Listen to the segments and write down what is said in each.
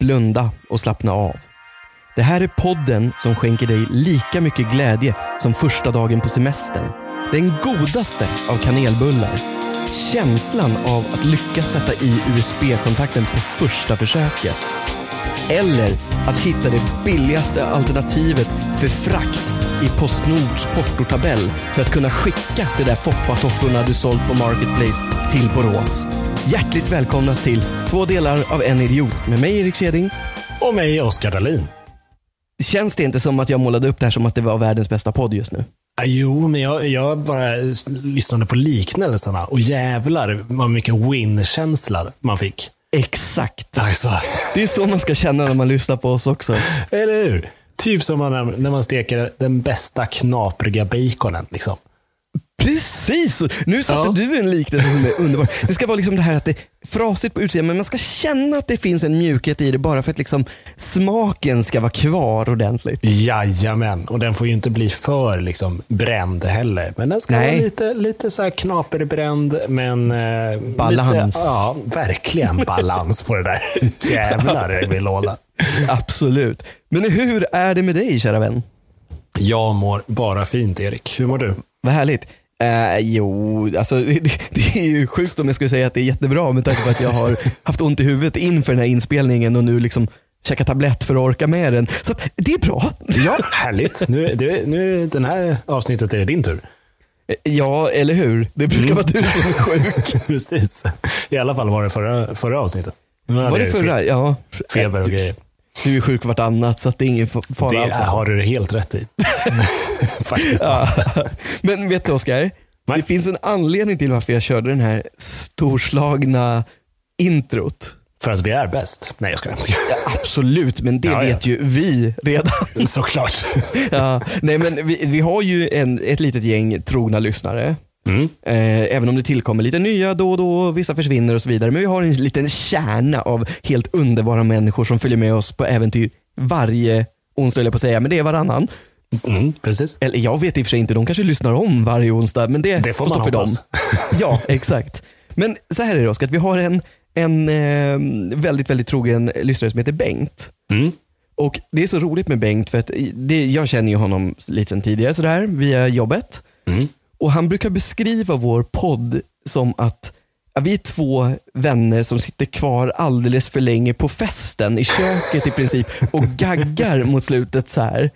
blunda och slappna av. Det här är podden som skänker dig lika mycket glädje som första dagen på semestern. Den godaste av kanelbullar. Känslan av att lyckas sätta i USB-kontakten på första försöket. Eller att hitta det billigaste alternativet för frakt i Postnords portotabell för att kunna skicka de där foppatoftorna du sålt på Marketplace till Borås. Hjärtligt välkomna till två delar av en idiot med mig Erik Kjeding. Och mig, Oskar Dahlin. Känns det inte som att jag målade upp det här som att det var världens bästa podd just nu? Ah, Jo, men jag, jag bara s- lyssnade på liknelserna och jävlar vad mycket win-känsla man fick. Exakt. Alltså, Det är så man ska känna när man lyssnar på oss också. eller hur? Typ som man, när man steker den bästa knapriga baconen. Liksom. Precis! Nu satte Ja. du en liknelse som är underbar. Det ska vara liksom det här att det är frasigt på utsidan men man ska känna att det finns en mjukhet i det bara för att liksom smaken ska vara kvar ordentligt. Jajamän, och den får ju inte bli för liksom, bränd heller. Men den ska Nej. vara lite, lite så här knaperbränd, men... Eh, Balans. Lite, ja, verkligen balans på det där. Jävlar, det vill låda. Absolut. Men hur är det med dig kära vän? Jag mår bara fint, Erik. Hur mår du? Vad härligt. Eh, jo, alltså, det, det är ju sjukt om jag skulle säga att det är jättebra med tanke på att jag har haft ont i huvudet inför den här inspelningen och nu liksom käkar tablett för att orka med den. Så att, det är bra. Ja, härligt. Nu, det, nu är det- den här avsnittet är det din tur. Eh, Ja, eller hur? Det brukar Mm. vara du som är sjuk. Precis. I alla fall var det förra, förra avsnittet. Nu hade Var det jag ju fe- förra? Ja. Feber och grejer. Du är sjuk vartannat så att det är ingen fa- fara Det alls. alltså. har du helt rätt i. Faktiskt. Men vet du Oskar? Nej. Det finns en anledning till varför jag körde den här storslagna introt. För att vi är bäst. Nej, jag skojar. Absolut, men det Ja, ja. vet ju vi redan. Såklart. Ja, nej men vi, vi har ju en, ett litet gäng trogna lyssnare. Mm. Eh, även om det tillkommer lite nya då och då, vissa försvinner och så vidare. Men vi har en liten kärna av helt underbara människor som följer med oss på äventyr varje onsdag, höll jag på att säga, men det är varannan. Mm, precis. Eller jag vet i och för sig inte, de kanske lyssnar om varje onsdag, men det, Det får man står för hoppas. dem. Ja, exakt. Men så här är det Oskar, att vi har en, en eh, väldigt, väldigt trogen lyssnare som heter Bengt. Mm. Och Det är så roligt med Bengt, för att det, jag känner ju honom lite sen tidigare sådär, via jobbet. Mm. Och Han brukar beskriva vår podd som att ja, vi är två vänner som sitter kvar alldeles för länge på festen i köket i princip och gaggar mot slutet så här.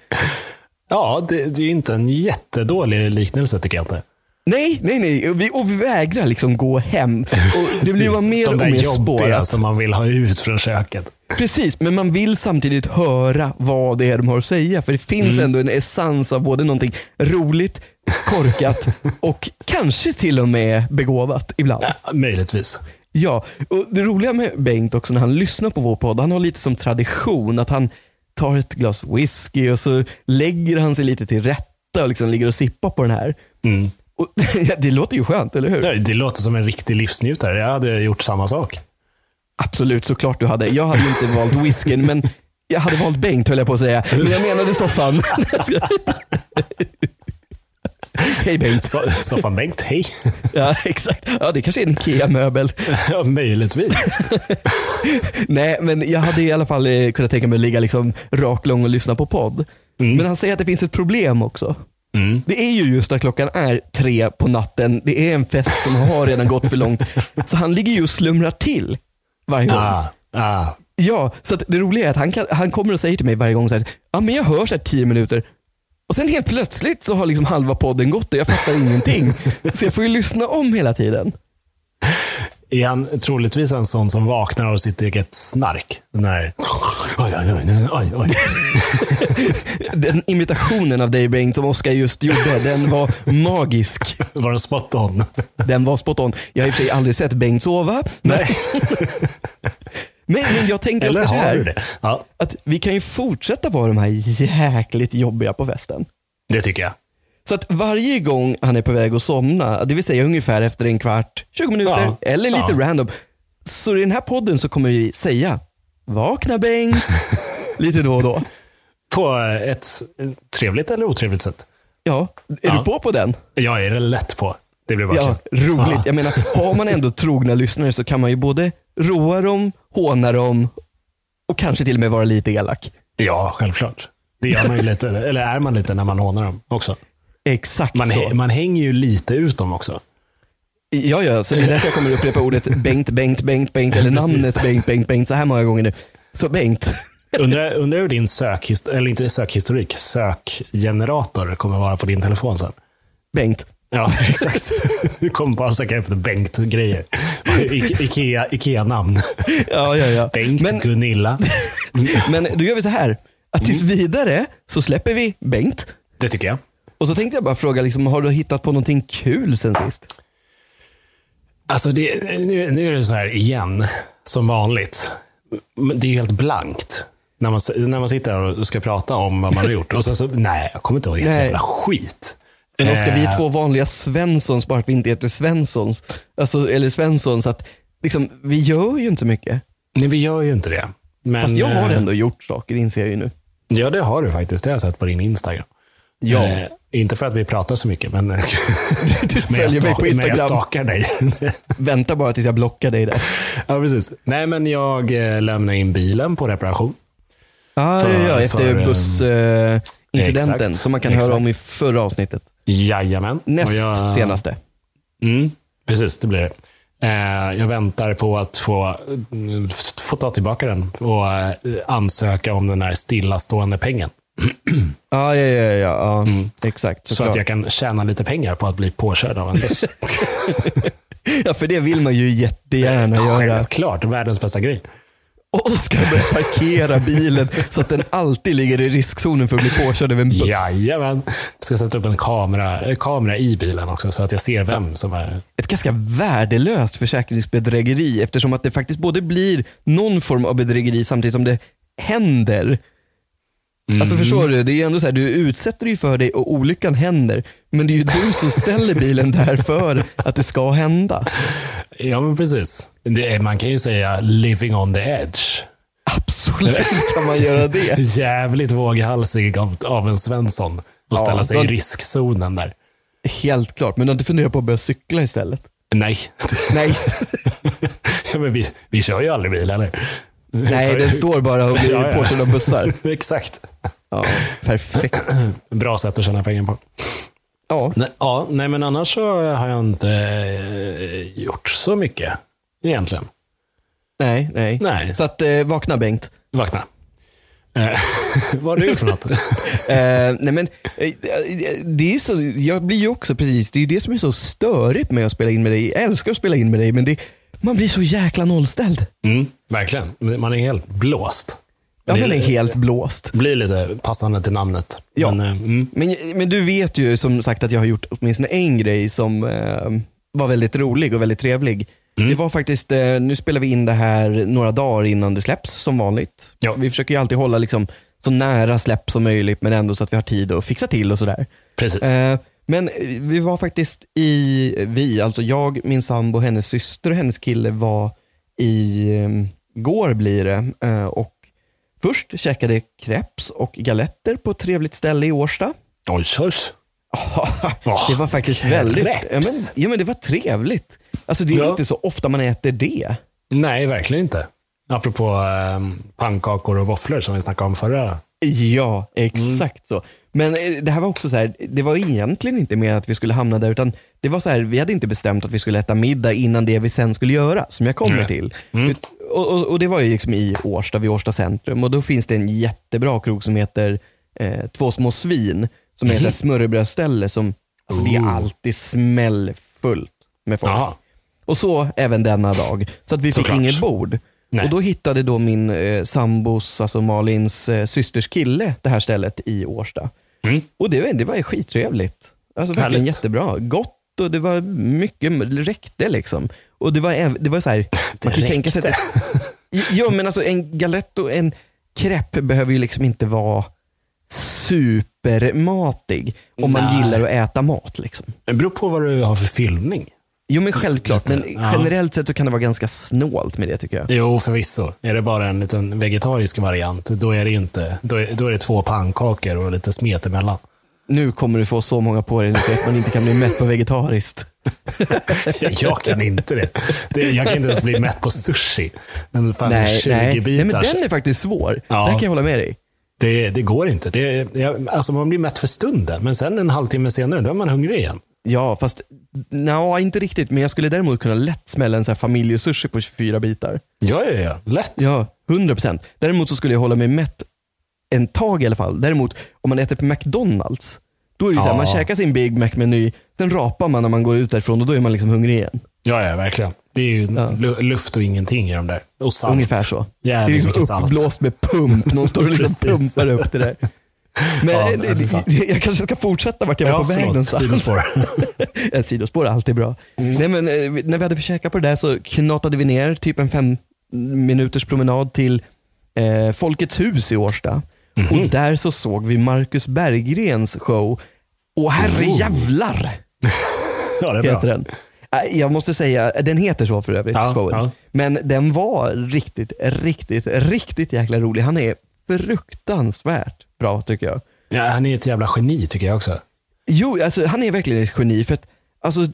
Ja, det, det är ju inte en jättedålig liknelse tycker jag inte. Nej, nej, nej. Och vi, och vi vägrar liksom gå hem. Och det blir bara Precis. mer De och där mer jobbiga spårat. som man vill ha ut från köket. Precis, men man vill samtidigt höra vad det är de har att säga. För det finns ändå en essens av både någonting roligt, korkat och kanske till och med begåvat ibland. Ja, möjligtvis. Ja, och det roliga med Bengt också när han lyssnar på vår podd, han har lite som tradition att han tar ett glas whisky och så lägger han sig lite till rätta och liksom ligger och sippar på den här. Mm. Och, det låter ju skönt, eller hur? Nej, Det låter som en riktig livsnjutare. Jag hade gjort samma sak. Absolut, såklart du hade. Jag hade ju inte valt whiskyn, men jag hade valt Bengt höll jag på att säga. Men jag menade soffan. Hej Bengt. So- Soffan Bengt, hej. Ja, exakt. Ja, det kanske är en IKEA-möbel. Ja, möjligtvis. Nej, men jag hade i alla fall eh, kunnat tänka mig att ligga liksom raklång och lyssna på podd. Men han säger att det finns ett problem också. Det är ju just att klockan är tre på natten. Det är en fest som har redan gått för långt. Så han ligger ju och slumrar till varje gång. Ah, ah. Ja, så att det roliga är att han, kan, han kommer och säger till mig varje gång så här, ja men jag hör så här tio minuter. Och sen helt plötsligt så har liksom halva podden gått och jag fattar ingenting. Så jag får ju lyssna om hela tiden. Är han troligtvis en sån som vaknar av sitt eget snark? När... Oj, oj, oj, oj, oj. Den imitationen av dig Bengt som Oscar just gjorde, den var magisk. Var den spot on? Den var spot on. Jag har i och för sig aldrig sett Bengt sova. Nej. Men, men jag tänker Eller Oscar, så har du här, det? Ja, att vi kan ju fortsätta vara de här jäkligt jobbiga på festen. det tycker jag. Så att varje gång han är på väg att somna, det vill säga ungefär efter en kvart, 20 minuter Ja. eller lite Ja. random. Så i den här podden så kommer vi säga, vakna Bengt, lite då och då. På ett trevligt eller otrevligt sätt. Ja, är Ja. du på på den? Jag är det lätt på. Det blir bara Ja, kul. roligt. Jag menar, har man ändå trogna lyssnare så kan man ju både roa dem, håna dem Och kanske till och med vara lite elak. Ja, självklart. Det är man ju lite, eller är man lite när man hånar dem också. Exakt Man, så. hä- man hänger ju lite ut dem också. Ja, ja, så det är därför jag kommer upprepa ordet Bengt, Bengt, Bengt, Bengt, eller Precis. namnet Bengt, Bengt, Bengt så här många gånger nu. Så Bengt. Undrar, undrar hur din sökhistorik, eller inte sökhistorik, sökgenerator kommer vara på din telefon sen. Bengt. Ja, exakt. Du kommer bara söka efter Bengt-grejer. I- Ikea- Ikea-namn. Ja, ja, ja. Bengt, Men- Gunilla. Men då gör vi så här, att tills Mm. vidare så släpper vi Bengt. Det tycker jag. Och så tänkte jag bara fråga, liksom, har du hittat på någonting kul sen sist? Alltså, det, nu, nu är det så här igen, som vanligt. Men Det är ju helt blankt. När man, när man sitter här och ska prata om vad man har gjort. Och sen så, nej, jag kommer inte ihåg ett Nej. jävla skit. Men då ska vi Eh. två vanliga Svenssons, bara att vi inte heter Svenssons, alltså, eller Svenssons, att liksom, vi gör ju inte mycket. Nej, vi gör ju inte det. Men, Fast jag har eh, ändå gjort saker, inser jag ju nu. Ja, det har du faktiskt. Det har jag sett på din Instagram. Ja. Eh, inte för att vi pratar så mycket, men, men, jag, följer mig på men jag Instagram. stakar dig. Vänta bara tills jag blockar dig där. ja, precis. Nej, men jag eh, lämnar in bilen på reparation. Ah, För- ja, ja, efter för, ehm, bussincidenten exakt, som man kan höra exakt. om i förra avsnittet. Jajamän. Näst Och jag, senaste. Mm, precis, det blir det. Eh, jag väntar på att få, mm, f- få ta tillbaka den och eh, ansöka om den här stillastående pengen. Ah, ja, ja, ja, ja. exakt. Mm. Så att jag kan tjäna lite pengar på att bli påkörd av en buss. Ja, för det vill man ju jättegärna göra. Självklart, världens bästa grej. Och Oskar börjar parkera bilen så att den alltid ligger i riskzonen för att bli påkörd av en buss. Jajamän. Jag ska sätta upp en kamera, eh, kamera i bilen också så att jag ser vem som är... Ett ganska värdelöst försäkringsbedrägeri eftersom att det faktiskt både blir någon form av bedrägeri samtidigt som det händer. Alltså förstår du? Det är ju ändå så här, du utsätter dig för dig och olyckan händer. Men det är ju du som ställer bilen där för att det ska hända. Ja, men precis. Det är, man kan ju säga living on the edge. Absolut kan man göra det. Jävligt våghalsig av, av en Svensson att ställa sig men- i riskzonen där. Helt klart, men du har inte funderat på att börja cykla istället? Nej, Nej, Ja, men vi, vi kör ju aldrig bil eller? Nej den står bara och Ja, blir ja. påkörd av bussar. Exakt. Ja, perfekt. Bra sätt att tjäna pengar på. Ja. Nej, ja, nej, men annars så har jag inte eh, gjort så mycket egentligen. Nej, nej, Nej. Så att eh, vakna Bengt. Vakna. Eh, vad har du gjort för något? Eh, nej men, eh, det är så, jag blir ju också precis, det är ju det som är så störigt med att spela in med dig. Jag älskar att spela in med dig, men det, man blir så jäkla nollställd. Mm, verkligen. Man är helt blåst. Ja, Det man är helt blåst. blir lite passande till namnet. Ja. Men, eh, mm, Men, men du vet ju som sagt att jag har gjort åtminstone en grej som eh, var väldigt rolig och väldigt trevlig. Det var faktiskt, eh, nu spelar vi in det här några dagar innan det släpps som vanligt. Ja. Vi försöker ju alltid hålla liksom, så nära släpp som möjligt men ändå så att vi har tid att fixa till och sådär. precis. Eh, men vi var faktiskt i, vi, alltså jag, min sambo, hennes syster och hennes kille var i eh, går blir det. Eh, och först käkade crepes och galetter på ett trevligt ställe i Årsta. Oj, oj. Åh, det var faktiskt vilken väldigt, reps. ja men, ja men det var trevligt. Alltså det är Ja. inte så ofta man äter det. Nej, verkligen inte. Apropå eh, pannkakor och våfflor som vi snackade om förra Ja, exakt så. Men eh, det här var också så här, det var egentligen inte mer att vi skulle hamna där, utan det var så här, vi hade inte bestämt att vi skulle äta middag innan det vi sen skulle göra, som jag kommer Nej. till. Ut- Och, och, och Det var ju liksom i Årsta, vid Årsta centrum. Och Då finns det en jättebra krog som heter eh, Två små svin, som är ett mm. smörrebrödsställe som, alltså det är Ooh. alltid smällfullt med folk. Jaha. Och så även denna dag. Så att vi fick Såklart. inget bord. Nej. Och då hittade då min eh, sambos, alltså Malins eh, systers kille, det här stället i Årsta. Mm. Och det, var- det var skittrevligt. Alltså verkligen Härligt. jättebra. Gott och det var mycket, det räckte liksom. Och det var, äv- det var så här, man kan ju tänka sig att det, Jo men alltså en galett och en crepe behöver ju liksom inte vara supermatig. Om man Nej. gillar att äta mat liksom. Det beror på vad du har för fyllning. Jo men självklart, men Lite, ja. generellt sett så kan det vara ganska snålt med det tycker jag. Jo, förvisso. Är det bara en liten vegetarisk variant, då är det ju inte. Då är, då är det två pannkakor och lite smet emellan. Nu kommer du få så många på dig nu att man inte kan bli mätt på vegetariskt. jag, jag kan inte det. det. Jag kan inte ens bli mätt på sushi. En fan Nej, nej. nej, men 20-bitars. den är faktiskt svår. Ja. Där kan jag hålla med dig. Det, det går inte. Det, jag, alltså man blir mätt för stunden, men sen en halvtimme senare, då är man hungrig igen. Ja, fast nja, inte riktigt. Men jag skulle däremot kunna lätt smälla en så här familjesushi på 24 bitar. Ja, ja, ja. Lätt. Ja, 100%. Däremot så skulle jag hålla mig mätt en tag i alla fall. Däremot om man äter på McDonalds, då är det ju så här, Ja. man käkar sin Big Mac-meny, sen rapar man när man går ut därifrån och då är man liksom hungrig igen. Ja, ja, verkligen. Det är ju lu- luft och ingenting i de där. Och salt. Ungefär så. Jävligt det är mycket liksom salt. uppblåst med pump. Någon står och liksom Precis. pumpar upp det där. Men Ja, det, fy fan. det, jag kanske ska fortsätta vart jag var Ja, på väg förlåt. någonstans. Sidospår. Mm. Ja, sidospår är alltid bra. Nej, men, eh, vi- när vi hade försäkrat på det där så knatade vi ner typ en fem minuters promenad till eh, Folkets hus i Årsta. Mhm. Och där så såg vi Marcus Berggrens show. Åh Oh. herrejävlar ja, det är bra. heter den. Eh, Jag måste säga, den heter så för övrigt. Ja, showen. ja. Men den var riktigt, riktigt, riktigt jäkla rolig. Han är fruktansvärt bra tycker jag. Ja, han är ett jävla geni tycker jag också. Jo, alltså, han är verkligen ett geni. För att, alltså,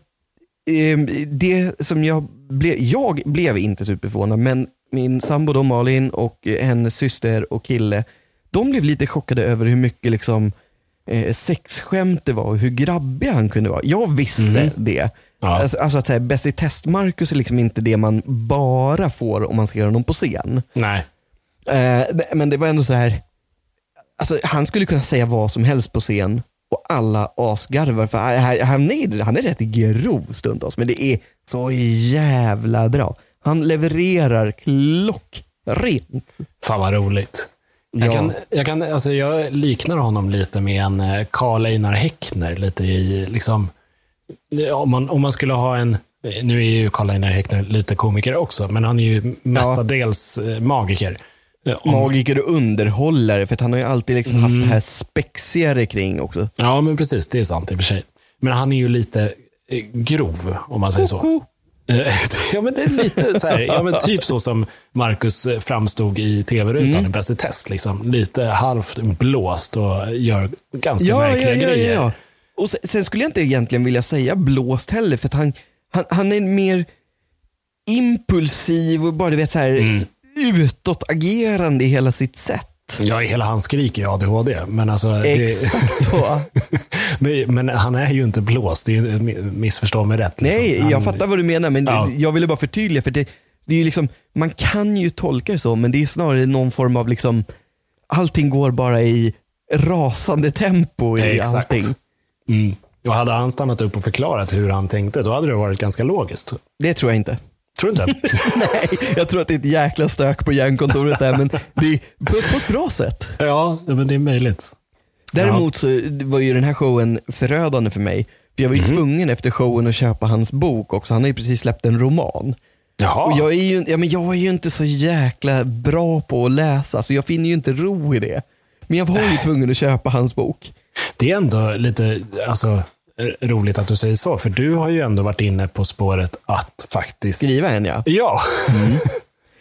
ehm, det som jag blev, jag blev inte superförvånad, men min sambo då, Malin och eh, hennes syster och kille, de blev lite chockade över hur mycket liksom, eh, sexskämt det var och hur grabbig han kunde vara. Jag visste det. Ja. Alltså, alltså att säga, Bäst i test-Marcus är liksom inte det man bara får om man ska göra någon på scen. Nej. Eh, men det var ändå så här. Alltså, han skulle kunna säga vad som helst på scen och alla asgarvar. För han, han- han, är, han är rätt grov stundtals, men det är så jävla bra. Han levererar klockrent. Fan vad roligt. Jag, Ja. kan, jag, kan, alltså jag liknar honom lite med en eh, Karl Einar Häckner. Lite i, liksom, eh, om, man, om man skulle ha en... eh, Nu är ju Karl Einar Häckner lite komiker också, men han är ju mestadels eh, magiker. Eh, om- Magiker och underhållare, för att han har ju alltid liksom haft Mm. det här spexigare kring också. Ja, men precis. Det är sant i och för sig. Men han är ju lite eh, grov, om man säger så. Eh, ja, men det är lite så här. Ja, men typ så som Marcus eh, framstod i tv-rutan Mm. i Bäst i test. Liksom. Lite halvt blåst och gör ganska märkliga grejer. Och sen, sen skulle jag inte egentligen vilja säga blåst heller, för att han, han, han är mer impulsiv och bara du vet så här Mm. utåtagerande i hela sitt sätt. Ja, hela hans skrik är ADHD. Men, alltså, det, Exakt så. men, men han är ju inte blåst. Det är ju- missförstå mig rätt. liksom. Nej, han, jag fattar vad du menar, men Ja. jag ville bara förtydliga, för det, det är ju liksom, man kan ju tolka det så, men det är snarare någon form av, liksom, allting går bara i rasande tempo i Exakt. allting. Mm. Och hade han stannat upp och förklarat hur han tänkte, då hade det varit ganska logiskt. Det tror jag inte. Tror du inte? Nej, jag tror att det är ett jäkla stök på hjärnkontoret där, men det är på, på ett bra sätt. Ja, men det är möjligt. Däremot så var ju den här showen förödande för mig. För jag var ju tvungen efter showen att köpa hans bok också. Han har ju precis släppt en roman. Jaha. Och jag, är ju, ja, men jag är ju inte så jäkla bra på att läsa, så jag finner ju inte ro i det. Men jag var ju tvungen att köpa hans bok. Det är ändå lite alltså, eh, roligt att du säger så, för du har ju ändå varit inne på spåret att faktiskt... Skriva en ja. Ja.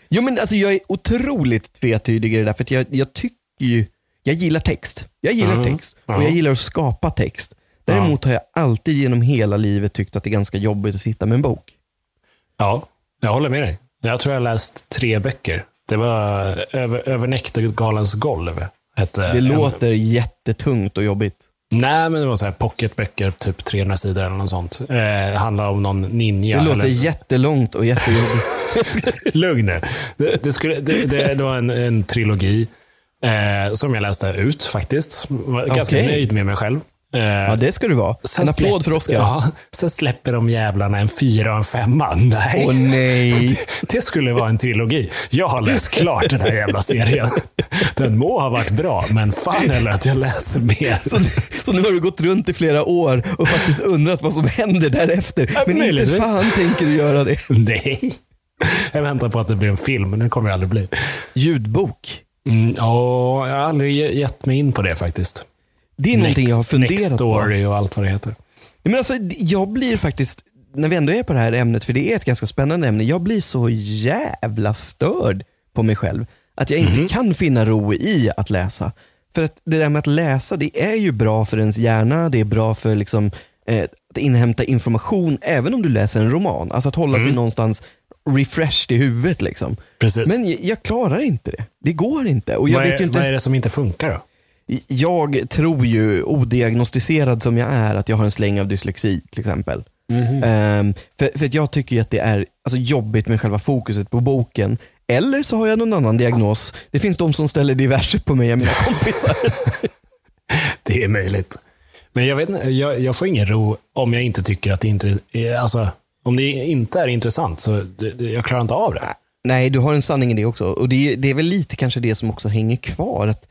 Jo, men alltså, jag är otroligt tvetydig i det där, för att jag, jag tycker ju, jag gillar text. Jag gillar Mm. text och Ja. jag gillar att skapa text. Däremot har jag alltid genom hela livet tyckt att det är ganska jobbigt att sitta med en bok. ja, jag håller med dig. Jag tror jag har läst tre böcker. Det var eh, över, över näktergalens golv. Hette Det en- låter jättetungt och jobbigt. Nej, men det var så här pocketböcker, typ 300 sidor eller något sånt. Eh, handlar om någon ninja. Det låter eller... jättelångt och jättejobbigt. Lugn nu. Det, det, skulle, det, det, det var en, en trilogi eh, som jag läste ut faktiskt. Var Ganska Okej. nöjd med mig själv. Eh, Ja, det ska du vara. Sen En applåd släpp- för Oscar. Ja, sen släpper de jävlarna en fyra och en femma. Nej. Åh nej. Det skulle vara en trilogi. Jag har läst klart den här jävla serien. Den må ha varit bra, men fan eller att jag läser mer. Så, så nu har du gått runt i flera år och faktiskt undrat vad som händer därefter. Men inte möjligtvis. fan tänker du göra det. Nej. Jag väntar på att det blir en film, men det kommer det aldrig bli. Ljudbok. Mm, ja, jag har aldrig ge- gett mig in på det faktiskt. Det är någonting jag har Next funderat på. story och allt vad det heter. Men alltså, jag blir faktiskt, när vi ändå är på det här ämnet, för det är ett ganska spännande ämne, jag blir så jävla störd på mig själv. Att jag inte kan finna ro i att läsa. För att det där med att läsa, det är ju bra för ens hjärna, det är bra för liksom, eh, att inhämta information även om du läser en roman. Alltså att hålla sig någonstans refreshed i huvudet. Liksom. Precis. Men jag- jag klarar inte det. Det går inte. Och jag vad, är, vet ju vad inte. är det som inte funkar då? Jag tror ju, odiagnostiserad som jag är, att jag har en släng av dyslexi till exempel. Ehm, för, för att jag tycker ju att det är alltså, jobbigt med själva fokuset på boken. Eller så har jag någon annan diagnos. Det finns de som ställer diverse på mig, jag mina kompisar. Det är möjligt. Men jag, vet, inte, jag, jag får ingen ro om jag inte tycker att det är intre- eh, alltså, om det inte är intressant. så det, det, Jag klarar inte av det. Nej, du har en sanning i det också. Och det, är- det är väl lite kanske det som också hänger kvar. Att,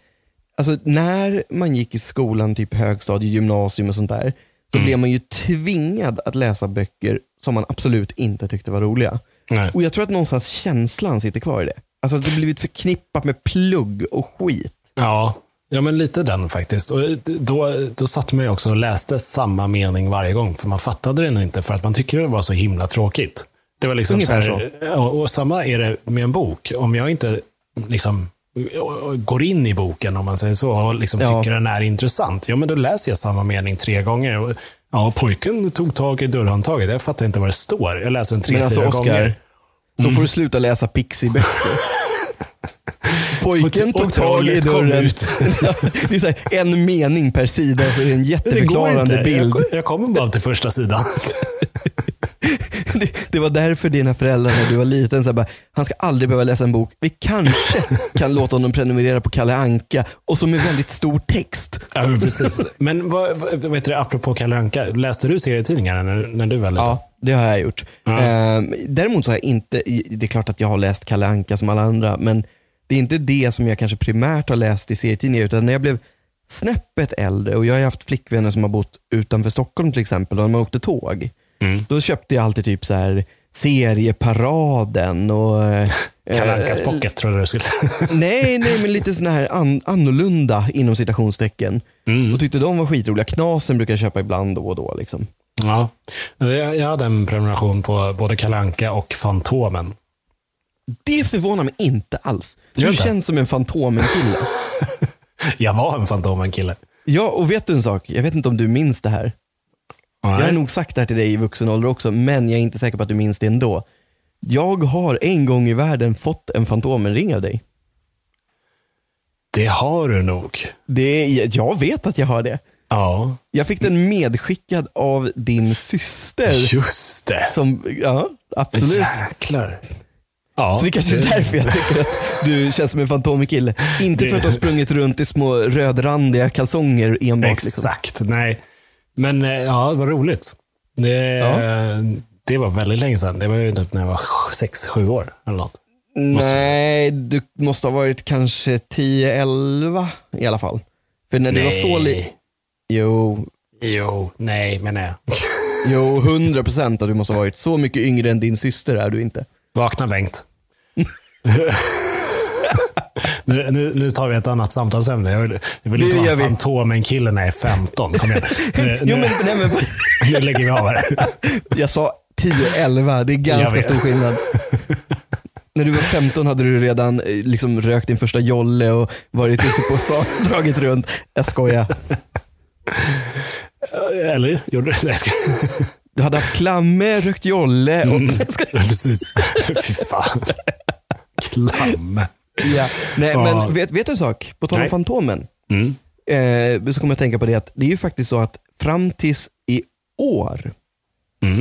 alltså, när man gick i skolan, typ högstadie, gymnasium och sånt där, så blev man ju tvingad att läsa böcker som man absolut inte tyckte var roliga. Nej. Och jag tror att någonstans känslan sitter kvar i det. Alltså att det blivit förknippat med plugg och skit. Ja, ja men lite den faktiskt. Och då, då satt man ju också och läste samma mening varje gång, för man fattade den inte, för att man tyckte det var så himla tråkigt. Det var liksom så Ungefär här, och, och samma är det med en bok. Om jag inte liksom går in i boken, om man säger så, och liksom Ja. tycker den är intressant, ja men då läser jag samma mening tre gånger. Och, ja, pojken tog tag i dörrhandtaget. Jag fattar inte vad det står. Jag läser den tre, Men alltså fyra Oscar, gånger. då Mm. får du sluta läsa Pixie-böcker. Pojken Och- tog och tag i trollet kom dörren. ut. det är så här, en mening per sida, så är det en Det går jätteförklarande inte. bild. Jag, jag kommer bara till första sidan. Det, det var därför dina föräldrar när du var liten så här, bara, han ska aldrig behöva läsa en bok. Vi kanske kan låta honom prenumerera på Kalle Anka och så med väldigt stor text. Ja, men precis. Men vad, vad vad heter det, apropå Kalle Anka, läste du serietidningarna när, när du var liten? Ja, det har jag gjort. Ja. Ehm, däremot så har jag inte, det är klart att jag har läst Kalle Anka som alla andra, men det är inte det som jag kanske primärt har läst i serietidningar, utan när jag blev snäppet äldre och jag har ju haft flickvänner som har bott utanför Stockholm till exempel, och när man åkte tåg, Mm. då köpte jag alltid typ så här serieparaden och eh, Kalle Ankas pocket tror jag du skulle Nej, nej, men lite sån här an- annorlunda inom citationstecken. Mm. Och tyckte de var skitroliga. Knasen brukar jag köpa ibland då och då. Liksom. ja. jag, jag hade en prenumeration på både Kalle Anka och Fantomen. Det förvånar mig inte alls. Du Gör inte? känns som en Fantomen-kille. Jag var en Fantomen-kille. ja, och vet du en sak? Jag vet inte om du minns det här. Jag har Nej. nog sagt det här till dig i vuxen ålder också, men jag är inte säker på att du minns det ändå. Jag har en gång i världen fått en Fantomen-ring av dig. Det har du nog. Det är, jag vet att jag har det. Ja, Jag fick den medskickad av din syster. just det. Som, ja, absolut. Jäklar. Ja, Så det kanske är därför jag tycker att du känns som en fantomkille. Inte för att du har sprungit runt i små rödrandiga kalsonger enbart. Liksom. Exakt, nej. Men eh, ja, det var roligt. Det, det var väldigt länge sedan. Det var ju typ när jag var sex, sju år eller något. Måste- Nej, du måste ha varit kanske 10-11 i alla fall. För när du var så li- Jo, Jo, nej, men nej. jo 100 procent att du måste ha varit så mycket yngre än din syster är du inte. Vakna Bengt. nu, nu, nu tar vi ett annat samtalsämne. Jag vill, jag vill inte Det vara gör vi. Fantomen-killen när jag är 15. Kom igen. Nu, Jo, nu, men, nej, men, nu lägger vi av här. jag sa 10-11, det är Jag ganska vet. stor skillnad. När du var 15 hade du redan eh, liksom, rökt din första jolle och varit ute på stan och dragit runt. Jag skojar. Eller? Gjorde du det? Nej, jag skojar. Du hade haft klamme, rökt jolle Mm. och... Jag ska- Precis. Fy fan. Klam. ja. Nej, Ja. men vet, vet du en sak? På tal om Nej. Fantomen, Mm. eh, så kommer jag att tänka på det att det är ju faktiskt så att fram tills i år,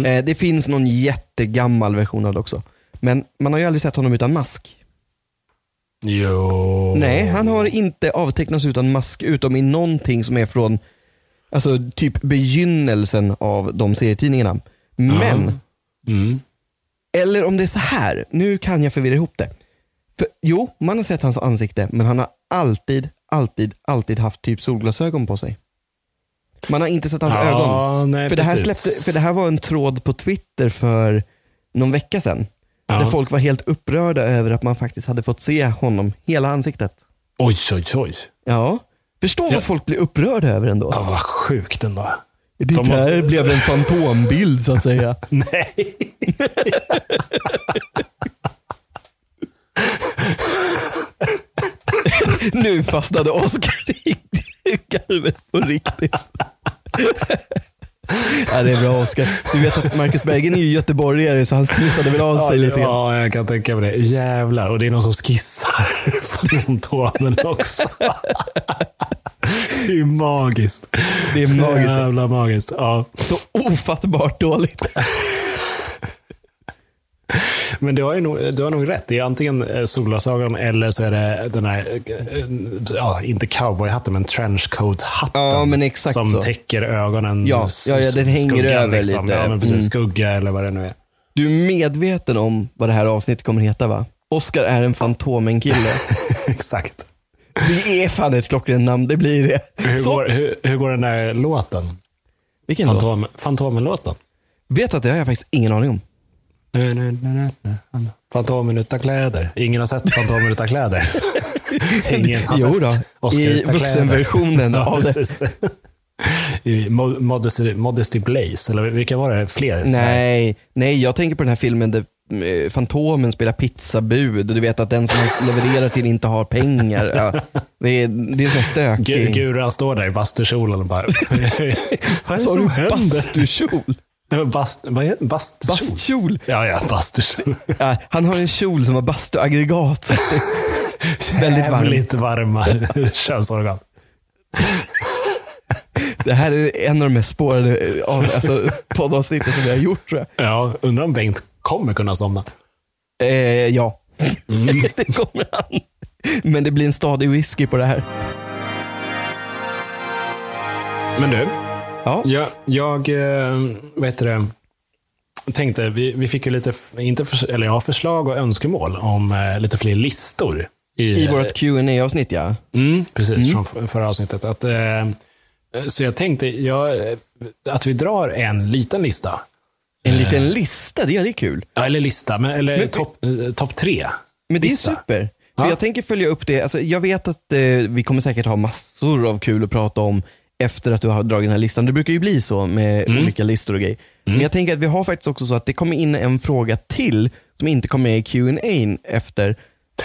eh, det finns någon jättegammal version av det också, men man har ju aldrig sett honom utan mask. Jo. Nej, han har inte avtecknats utan mask, utom i någonting som är från alltså, typ begynnelsen av de serietidningarna. Men Mm. Eller om det är så här. Nu kan jag förvirra ihop det. För, jo, man har sett hans ansikte, men han har alltid, alltid, alltid haft typ solglasögon på sig. Man har inte sett hans ögon. Ja, nej, För det, här precis. släppte, för det här var en tråd på Twitter för någon vecka sedan. Ja. Där folk var helt upprörda över att man faktiskt hade fått se honom, hela ansiktet. Oj, oj, oj. Ja. Förstå vad Ja. folk blir upprörda över ändå. Ja, vad sjukt ändå. Det de måste- där blev en fantombild så att säga. Nej. Nu fastnade Oskar i garvet på riktigt. Ja, det är bra Oskar. Du vet att Marcus Berggren är ju göteborgare så han smittade väl av sig lite grann. Ja, jag kan tänka mig det. Jävlar. Och det är någon som skissar på frontomen också. det är ju magiskt. Det är Så magiskt. Jävla magiskt. Ja. Så ofattbart dåligt. Men du har, ju nog, du har nog rätt. Det är antingen eh, solglasögon eller så är det den här, eh, eh, ja, inte cowboyhatten, men trenchcoat-hatten. Ja, men exakt som så. täcker ögonen. Ja, s- ja, ja, den hänger skuggan över liksom. lite. Ja, men precis. Mm. Skugga eller vad det nu är. Du är medveten om vad det här avsnittet kommer heta va? Oskar är en Fantomen-kille. Exakt. Det är fan ett klockrent namn, det blir det. Hur Så, går, hur, hur går den där låten? vilken låt? Fantom, Fantomen-låten? Vet du att det har jag faktiskt ingen aning om. Nu, nu, nu, nu, nu. Fantomen utan kläder. Ingen har sett Fantomen utan kläder. Ingen har Jo då, sett Oscar i utan vuxenversionen kläder. av det. precis. I Mo- Modesty, Modesty Blaze, eller vilka var det? Fler? så här. Nej, nej, jag tänker på den här filmen där eh, Fantomen spelar pizzabud och du vet att den som han levererar till inte har pengar. Ja, det, är, det är så här Gu- stökig. Guran står där i bastukjolen och bara... vad är det som händer? Bastukjol? Bast, vad är bastukjol? Bastkjol? Ja, ja, bastukjol. Ja, han har en kjol som har bastuaggregat. Väldigt varm. Jävligt varma könsorgan. Det här är en av de mest spårade eh, av, alltså, poddavsnitten som vi har gjort tror jag. Ja, undrar om Bengt kommer kunna somna. Eh, ja, Mm. det kommer han. Men det blir en stadig whisky på det här. Men du, Ja. jag, jag eh, vad heter det, tänkte, vi, vi fick ju lite, inte förs- eller ja, förslag och önskemål om eh, lite fler listor. I Eh, vårt qa avsnitt ja. Mm, precis, från f- förra avsnittet. Att, eh, så jag tänkte jag, eh, att vi drar en liten lista. En eh. liten lista, det, det är kul. Ja, eller lista, men, eller Men- topp eh, topp tre. Men det är Lista. super. För Ja. Jag tänker följa upp det. Alltså, jag vet att eh, vi kommer säkert ha massor av kul att prata om efter att du har dragit den här listan. Det brukar ju bli så med Mm. olika listor och grejer. Men jag tänker att vi har faktiskt också så att det kommer in en fråga till som inte kom med i Q&A efter.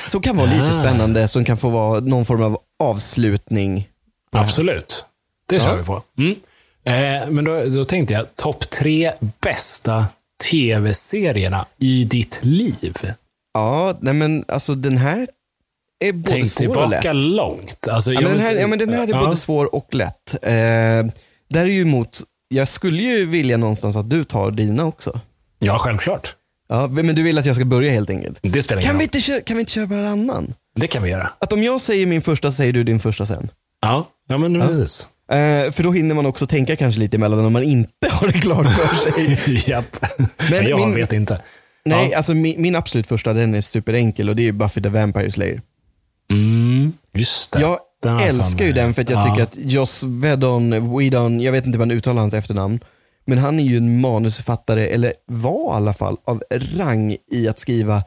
Som kan vara lite Ah. spännande, som kan få vara någon form av avslutning. Absolut. Det kör Ja. vi på. Mm. Eh, men då, då tänkte jag, topp tre bästa tv-serierna i ditt liv. Ja, nej men alltså den här är både Tänk svår och lätt. tillbaka långt. Alltså, Ja, jag men den vet här, inte- ja, men den här är Ja. både svår och lätt. Eh, där är ju emot, jag skulle ju vilja någonstans att du tar dina också. Ja, självklart. Ja, men du vill att jag ska börja helt enkelt. Det spelar ingen Kan vi roll. inte köra, kan vi inte köra varannan? Det kan vi göra. Att om jag säger min första så säger du din första sen. Ja, ja men precis. Eh, för då hinner man också tänka kanske lite emellan om man inte har det klart för sig. Japp. Men jag min- vet inte. Nej, alltså min, min absolut första den är superenkel och det är ju Buffy the Vampire Slayer. Mm, just det. Jag Den har jag älskar fan ju med. den för att jag Ja. tycker att Joss Whedon, Whedon, jag vet inte hur man uttalar hans efternamn, men han är ju en manusförfattare, eller var i alla fall, av rang i att skriva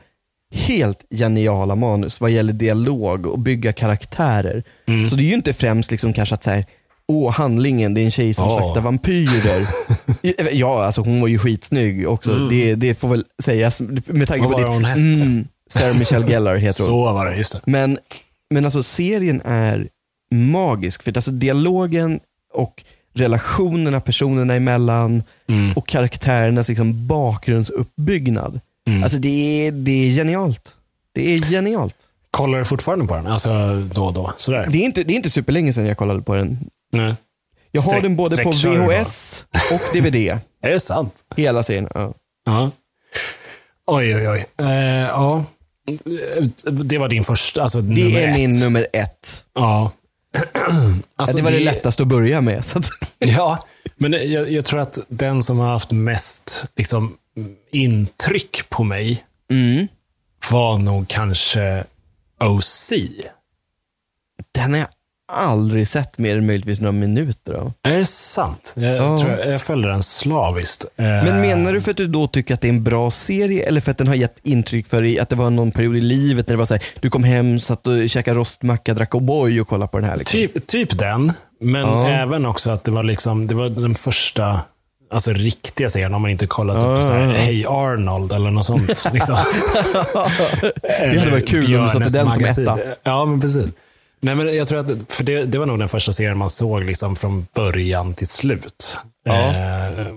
helt geniala manus vad gäller dialog och bygga karaktärer. Mm. Så det är ju inte främst liksom kanske att så här, åh handlingen, det är en tjej som Ja. slaktar vampyrer. ja, alltså hon var ju skitsnygg också. Det, det får väl sägas med tanke på Mm. Vad var det. det hon hette? Mm, Sarah Michelle Gellar heter hon. Så var det, just det. Men, men alltså serien är magisk. För att alltså dialogen och relationerna personerna emellan och karaktärernas liksom bakgrundsuppbyggnad. Alltså det är, det är genialt. Det är genialt. Kollar du fortfarande på den? Alltså då och då? Sådär. Det är inte, det är inte superlänge sedan jag kollade på den. Nej. Jag har Streck- den både på streckkörer då. VHS och DVD. Är det sant? Hela serien. Ja. Ja. Oj, oj, oj. Eh, ja. Det var din första, alltså Det nummer är ett. min nummer ett. Ja. Ja, Alltså, det var det lättaste att börja med. Så att, Ja, men jag, jag tror att den som har haft mest liksom, intryck på mig Mm. var nog kanske OC. den har jag aldrig sett mer än möjligtvis några minuter av. Är det sant? Jag, Ja. tror jag, jag följer den slaviskt. Eh, Men menar du för att du då tycker att det är en bra serie eller för att den har gett intryck för dig att det var någon period i livet när det var så här, du kom hem, satt och käkade rostmacka, drack O'boy och kollade på den här. Liksom. Typ, typ den, men Ja. även också att det var, liksom, det var den första alltså, riktiga serien. Om man inte kollat Ja, upp på så här, ja, ja. Hey Arnold eller något sånt. liksom. Typ. Det hade varit kul om du satte den som etta. Ja, men precis. Nej, men jag tror att, för det, det var nog den första serien man såg liksom från början till slut. Ja. Eh,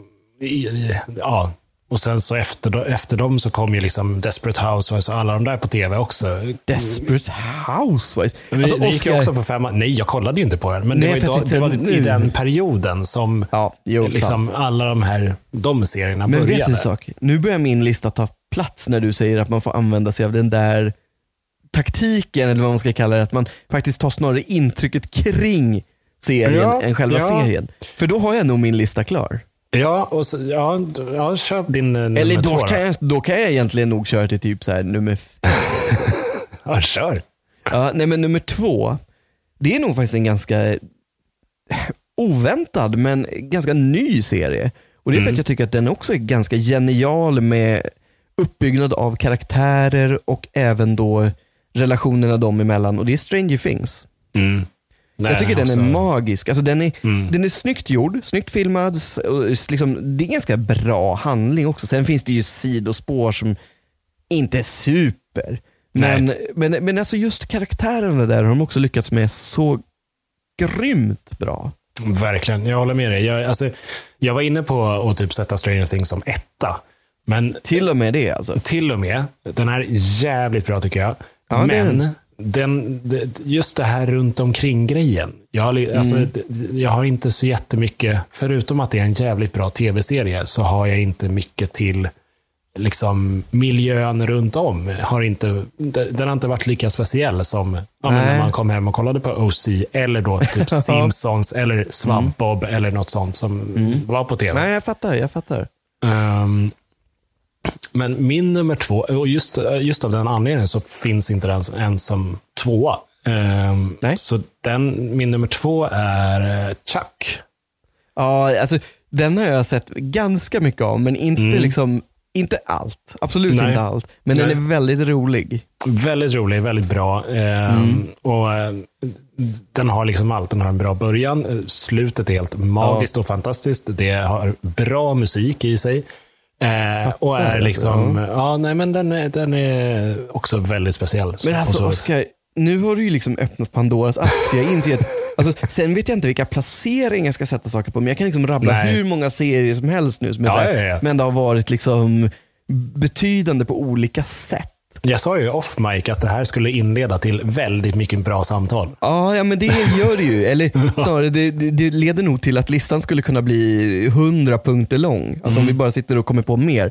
i, i, ja. Och sen så efter, efter dem så kom ju liksom Desperate Housewives och alla de där på tv också. Desperate Housewives. Men Alltså, det gick ju Oscar- också på femma. Nej, jag kollade ju inte på den. Men Nej, det, för var ju jag då, det tänkte var i nu. den perioden som Ja, jo, liksom, alla de här de serierna Men började. vet du en sak? Nu börjar min lista ta plats när du säger att man får använda sig av den där taktiken, eller vad man ska kalla det. Att man faktiskt tar snarare intrycket kring serien Ja, än själva ja. serien. För då har jag nog min lista klar. Ja, och så, ja, d- ja, köp din eh, nummer Eller två. då då. kan, jag, då kan jag egentligen nog köra till typ så här nummer, f- Ja, kör. ja, nej men nummer två. Det är nog faktiskt en ganska eh, oväntad men ganska ny serie. Och Det Mm. är för att jag tycker att den också är ganska genial med uppbyggnad av karaktärer och även då relationerna dem emellan. Och det är Stranger Things. Nej, jag tycker den också- Mm. är magisk. Alltså den, är, den är snyggt gjord, snyggt filmad. s- och s- Liksom, det är ganska bra handling också. Sen finns det ju sidospår som inte är super. Men, men, men alltså just karaktärerna där har de också lyckats med så grymt bra. Verkligen, jag håller med dig. Jag, alltså, jag var inne på att typ sätta Stranger Things som etta. Men Till och med det alltså. till och med, den här är jävligt bra tycker jag. Ja, det är men den. den, det- just det här runt omkring-grejen. Jag, har Mm. li- alltså, d- jag har inte så jättemycket, förutom att det är en jävligt bra tv-serie, så har jag inte mycket till liksom, miljön runt om. Har inte, d- den har inte varit lika speciell som ja, men Nej. när man kom hem och kollade på OC, eller då typ Simpsons, eller Svampbob, eller något sånt som Mm. var på tv. Nej, jag fattar. Jag fattar. Ehm, men min nummer två, och just, just av den anledningen så finns inte den ens som tvåa. Ehm, Nej. Så den, min nummer två är eh, Chuck. Ja, alltså, den har jag sett ganska mycket av, men inte, liksom, inte allt. Absolut Mm. Nej. inte allt. Men Nej. den är väldigt rolig. Väldigt rolig, väldigt bra. Ehm, Mm. Och eh, Den har liksom allt. Den har en bra början. Eh, Slutet är helt magiskt och fantastiskt. Det har bra musik i sig. Eh, och är alltså, liksom, ja, nej, men den, är- den är också väldigt speciell. Men alltså Och så- Oscar, nu har du ju liksom öppnat Pandoras ask. Jag inser att, alltså, sen vet jag inte vilka placeringar jag ska sätta saker på, men jag kan liksom rabbla Nej. hur många serier som helst nu som, är Ja, så här, ja, ja. men det har varit liksom betydande på olika sätt. Jag sa ju off mic att det här skulle inleda till väldigt mycket bra samtal. Ja, ja, men det gör det ju. Eller snarare, det, det det leder nog till att listan skulle kunna bli 100 punkter lång. Alltså om vi bara sitter och kommer på mer.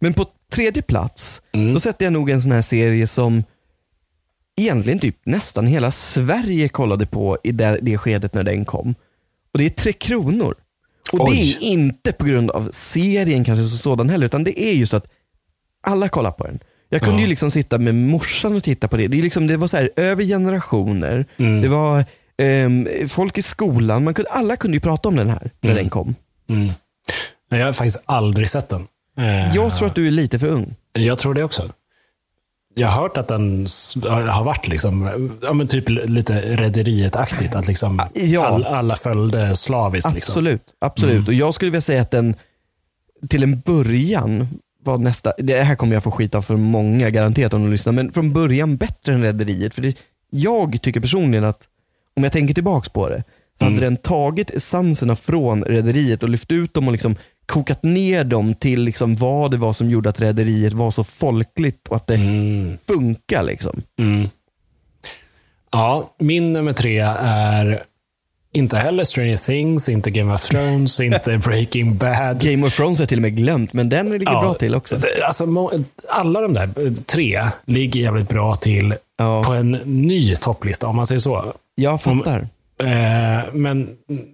Men på tredje plats, då sätter jag nog en sån här serie som egentligen typ nästan hela Sverige kollade på i det, det skedet när den kom. Och det är Tre Kronor. Och det Oj. är inte på grund av serien kanske som sådan heller, utan det är just att alla kollar på den. Jag kunde Ja. ju liksom sitta med morsan och titta på det. Det, är liksom, det var så här, över generationer. Det var ehm, folk i skolan. Man kunde, alla kunde ju prata om den här när den kom. Mm. Men jag har faktiskt aldrig sett den. Eh, Jag tror att du är lite för ung. jag tror det också. Jag har hört att den s- har varit liksom, ja, men typ lite rederiet-aktigt. Att liksom Ah, Ja. all, alla följde slaviskt. Liksom. Absolut. absolut. Och Jag skulle vilja säga att den till en början var nästa, det här kommer jag få skit av för många garanterat om de lyssnar, men från början bättre än Rederiet. För det, jag tycker personligen att, om jag tänker tillbaks på det, så hade den tagit essenserna från Rederiet och lyft ut dem och liksom kokat ner dem till liksom vad det var som gjorde att Rederiet var så folkligt och att det funkar. Liksom. Ja, min nummer tre är inte heller Stranger Things, inte Game of Thrones, inte Breaking Bad. Game of Thrones har jag till och med glömt, men den ligger bra till också. det- Alltså, må- alla de där eh, tre ligger jävligt bra till Ja. på en ny topplista, om man säger så. Jag fattar. Eh, men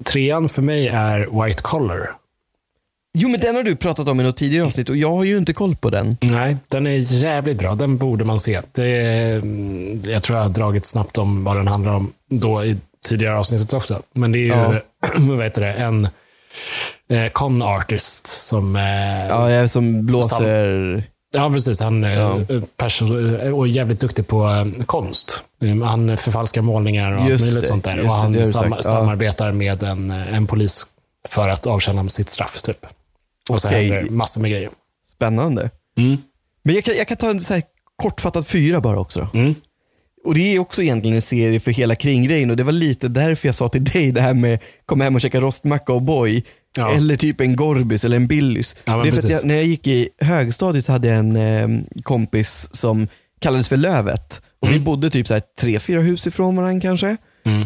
trean för mig är White Collar. Jo men den har du pratat om i något tidigare avsnitt och jag har ju inte koll på den. Nej, den är jävligt bra. Den borde man se. Det är, mm, jag tror jag har dragit snabbt om vad den handlar om då i tidigare avsnittet också. Men det är ju Ja. vad heter det, en eh, con artist som eh, Ja, jag som blåser... Ja, precis. Han eh, perso- eh, och är jävligt duktig på eh, konst. Eh, Han förfalskar målningar och allt Just möjligt det, sånt där. just det, Och det han har du sam- sagt, ja. samarbetar med en, eh, en polis för att avtjäna sitt straff. Typ. Och så Okej. händer det massor med grejer. Mm. Mm. Spännande. Men jag kan, jag kan ta en så här kortfattad fyra bara också. då. Och det är också egentligen en serie för hela kringgrejen och det var lite därför jag sa till dig det här med kom hem och käka rostmacka och boy. Ja. Eller typ en Gorbis eller en Billys. Ja, men det är för att jag, precis. när jag gick i högstadiet så hade jag en eh, kompis som kallades för Lövet. Och Mm. Vi bodde typ så här tre, fyra hus ifrån varandra kanske.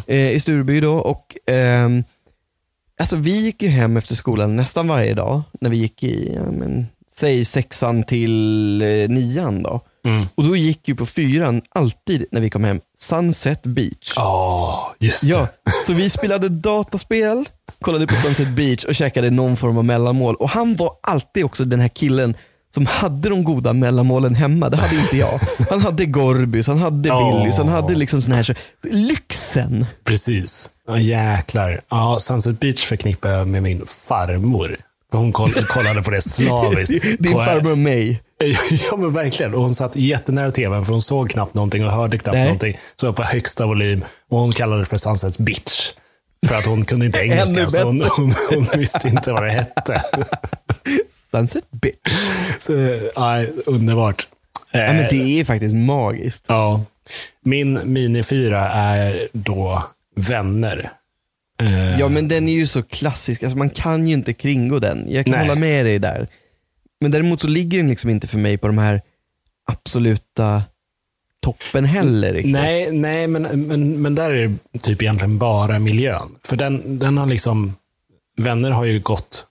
Eh, I Stureby då. Och, ehm, alltså vi gick ju hem efter skolan nästan varje dag när vi gick i, ja, men, säg sexan till eh, nian då. Mm. Och då gick ju på fyran alltid när vi kom hem, Sunset Beach. Ja, just det. Ja, så vi spelade dataspel, kollade på Sunset Beach och käkade någon form av mellanmål. Och han var alltid också den här killen som hade de goda mellanmålen hemma. Det hade inte jag. Han hade Gorbys, han hade Ja. Billys, han hade liksom sån här så, lyxen. Precis. Ja, jäklar. Ja, Sunset Beach förknippar jag med min farmor. Hon koll- kollade på det slaviskt. Din På- farbror och mig. Ja, men verkligen. Och hon satt jättenära tvn, för hon såg knappt någonting och hörde knappt Nej. någonting. Så det var på högsta volym. Och hon kallade det för Sunset Bitch. För att hon kunde inte engelska, Ännu så hon, hon, hon visste inte vad det hette. Sunset Beach. Så, ja, underbart. Eh, Ja, men det är faktiskt magiskt. Ja. Min minifyra är då vänner. Ja men den är ju så klassisk, alltså, man kan ju inte kringgå den. Jag kan Nej. hålla med dig där. Men däremot så ligger den liksom inte för mig på de här absoluta toppen heller. Riktigt. Nej, nej men, men, men där är det typ egentligen bara miljön. För den, den har liksom, vänner har ju gått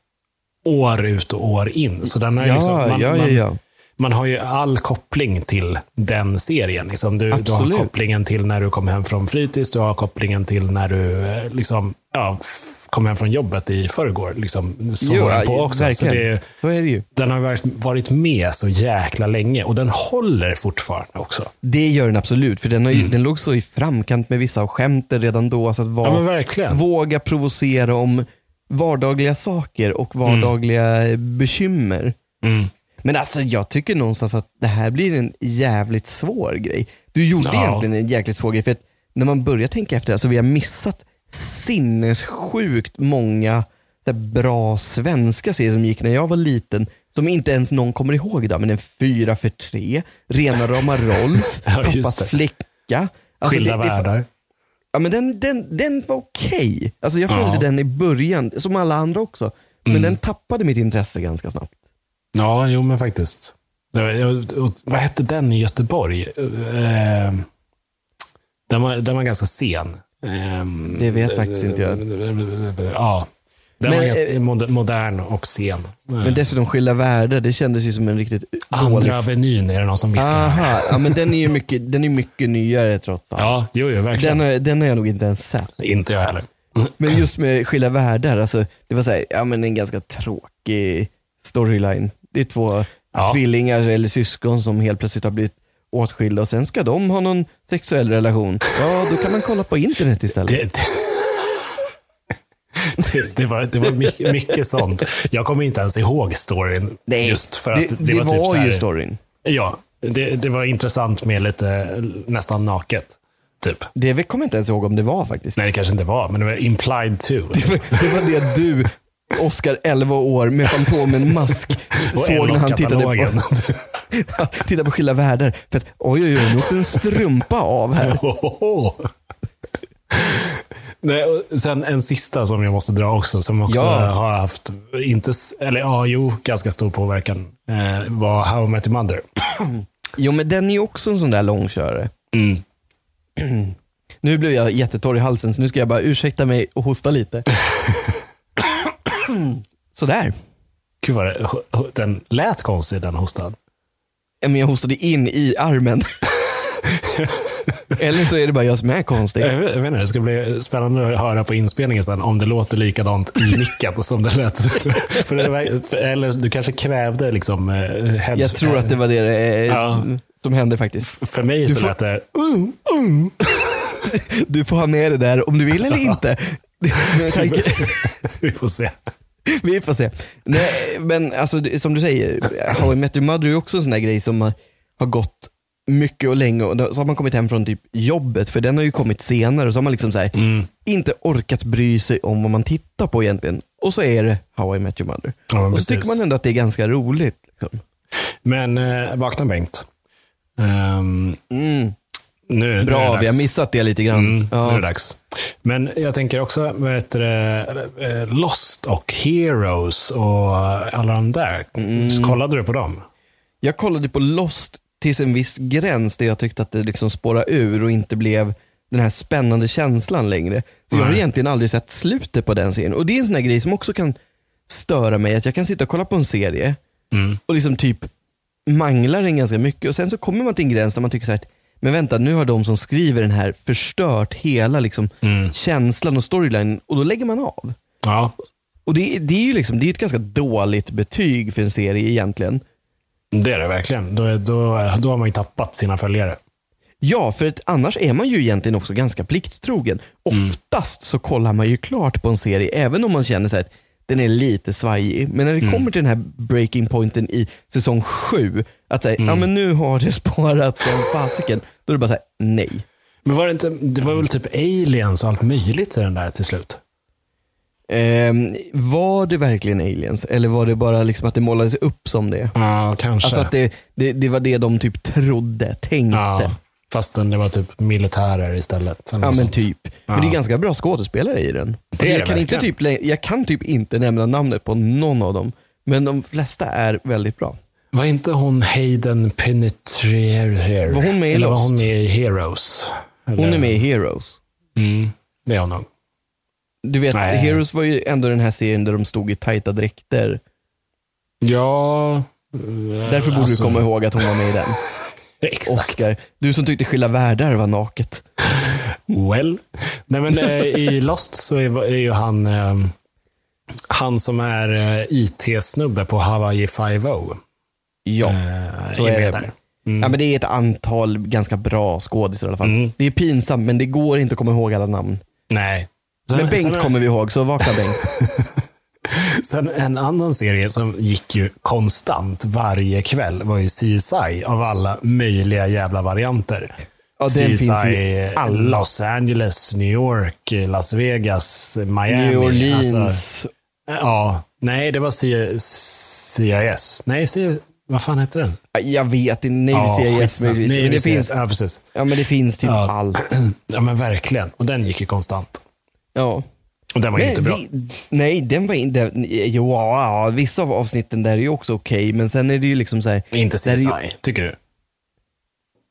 år ut och år in. Så den har ju Ja, liksom, man, ja, ja, man, ja. man har ju all koppling till den serien. Liksom du, du har Absolut. kopplingen till när du kom hem från fritids, du har kopplingen till när du eh, liksom, ja, f- kom hem från jobbet i förrgår. Liksom, så var den på också. Så verkligen. det, är- Så är det ju. den har varit- varit med så jäkla länge och den håller fortfarande också. Det gör den absolut, för den, har ju, den låg så i framkant med vissa av skämten redan då. Alltså att vara, Ja, men verkligen. våga provocera om vardagliga saker och vardagliga bekymmer. Mm. Men alltså jag tycker någonstans att det här blir en jävligt svår grej. Du gjorde Ja. egentligen en jäkligt svår grej för att när man börjar tänka efter det här så vi har missat sinnessjukt många där bra svenska serier som gick när jag var liten som inte ens någon kommer ihåg idag. Men en fyra för tre, rena rama Rolf, Ja, just pappas det. flicka. Alltså, Skilda det- det- världar. Ja, men den, den, den var okej. Alltså, jag följde Ja. Mm. den i början, som alla andra också. Men den tappade mitt intresse ganska snabbt. Ja, jo men faktiskt. Det var- jag- och Vad hette den i Göteborg? Eh, Den var, den var ganska sen. Eh, Det vet faktiskt inte jag. Ja. Den Men, var ganska eh, moder- modern och sen. Men dessutom Skilda Världar, det kändes ju som en riktigt dålig... Andra Avenyn är det någon som viskar. Aha, ja, men den är ju mycket, den är mycket nyare trots allt. Ja, jo, jo verkligen. Den, har, den har jag nog inte ens sett. Inte jag heller. Men just med Skilda Världar, alltså, det var så här, ja, men en ganska tråkig storyline. Det är två Ja. tvillingar eller syskon som helt plötsligt har blivit åtskilda och sen ska de ha någon sexuell relation. Ja, då kan man kolla på internet istället. Det, det, det, det var, det var mycket, mycket sånt. Jag kommer inte ens ihåg storyn. just för att det, var, typ så här, ju storyn. Ja, det, det var intressant med lite nästan naket. Typ. Det vi- kommer jag inte ens ihåg om det var faktiskt. Nej, det kanske inte var, men det var implied to. Det var, det var det du, Oscar 11 år med Fantomen-mask, Och såg när han tittade på, LOS-katalogen. tittade på Skilda Världar. För att oj, oj, oj, nu åkte en strumpa av här. Ohoho. Nej, och sen en sista som jag måste dra också, som också Ja. har haft, inte, s- eller ja, jo, ganska stor påverkan, eh, var How I Met Your Mother. Jo, men den är ju också en sån där långkörare. Mm. Nu blev jag jättetorr i halsen, så nu ska jag bara ursäkta mig och hosta lite. Sådär. Gud vad det, ho- ho- den lät konstig, den hostan. Ja, men Jag hostade in i armen. Eller så är det bara jag som är konstig. Jag vet jag vet inte, det ska bli spännande att höra på inspelningen sen om det låter likadant i micken som det lät. för det var, för, eller du kanske kvävde liksom eh, head, Jag tror att det var det eh, Ja. som hände faktiskt. För mig så lät det... Du får ha med det där om du vill eller inte. Men tack. Vi får se. Vi får se. Nej, men alltså, det- som du säger, How I Met Your Mother är ju också en sån där grej som har- har gått mycket och länge. Och då- så har man kommit hem från typ jobbet, för den har ju kommit senare. Och så har man liksom så här, Mm. inte orkat bry sig om vad man tittar på egentligen. Och så är det How I Met Your Mother. Ja, och så precis. tycker man ändå att det är ganska roligt. Liksom. Men eh, vakna Bengt. Ehm, Nu, nu Mm. Bra, är det vi har dags. missat det lite grann. Mm, Nu är ja. det dags. Men jag tänker också, vad heter det, eh, Lost och Heroes och alla de där. Mm. Så kollade du på dem? Jag kollade på Lost tills en viss gräns där jag tyckte att det liksom spårade ur och inte blev den här spännande känslan längre. Så jag har Nej. egentligen aldrig sett slutet på den serien. Och det är en sån här grej som också kan störa mig, att jag kan sitta och kolla på en serie och liksom typ manglar den ganska mycket och sen så kommer man till en gräns där man tycker så här att men vänta, nu har de som skriver den här förstört hela liksom känslan och storylinen och då lägger man av. Ja. Och det, det är ju liksom, det är ett ganska dåligt betyg för en serie egentligen. Det är det verkligen. Då, är- då, då har man ju tappat sina följare. Ja, för att annars är man ju egentligen också ganska plikttrogen. Oftast så kollar man ju klart på en serie, även om man känner så här att den är lite svajig. Men när det kommer till den här breaking pointen i säsong sju, att säga, ja men nu har det spårat som fasiken. Då är det bara så här, nej. Men var det inte, det var väl typ aliens och allt möjligt i den där till slut? Ehm, var det verkligen aliens? Eller var det bara liksom att det målades upp som det? Ja, kanske. Alltså att det, det, det var det de typ trodde, tänkte. ja, Ja, fastän det var typ militärer istället. eller något men sånt. typ. Men det Ja. är ganska bra skådespelare i den. Alltså, är jag, det kan inte verkligen. typ, lä- jag kan typ inte nämna namnet på någon av dem. Men de flesta är väldigt bra. Var inte hon Hayden Penetrier? Var hon med i Eller var hon Lost? med i Heroes? Hon Eller- är med i Heroes. Mm, det är hon nog. Du vet, Nej. Heroes var ju ändå den här serien där de stod i tajta dräkter. Ja... Därför borde Eh, du alltså, komma ihåg att hon var med i den. Exakt. Oscar, du som tyckte Skilda Världar var naket. Well. Nej, men, eh, I Lost så är, är ju han eh, han som är eh, IT-snubbe på Hawaii 5O. Ja, eh, Mm. så med är där. det. Ja, men det är ett antal ganska bra skådisar i alla fall. Det är pinsamt, men det går inte att komma ihåg alla namn. Mm. Nej. Sen, Men Bengt sen, kommer vi ihåg, så vakna Bengt. sen en annan serie som gick ju konstant varje kväll var ju CSI av alla möjliga jävla varianter. Ja, den CSI, finns i alla. Los Angeles, New York, Las Vegas, Miami. New Orleans. Alltså, ja, nej, det var C- CIS. Nej, C- vad fan heter den? Ja, Äh, Jag vet inte, nej ja, Ja, CIS skitsamma. möjligtvis. Nej, Men det ser jag. finns, Ja, precis. ja, men det finns typ Ja. allt. Ja, men verkligen. Och den gick ju konstant. Ja. Och den var ju inte bra. det- nej, den var inte... Jo, ja, vissa av avsnitten där är ju också okej, men sen är det ju liksom så här... Inte där är CSI, ju- tycker du?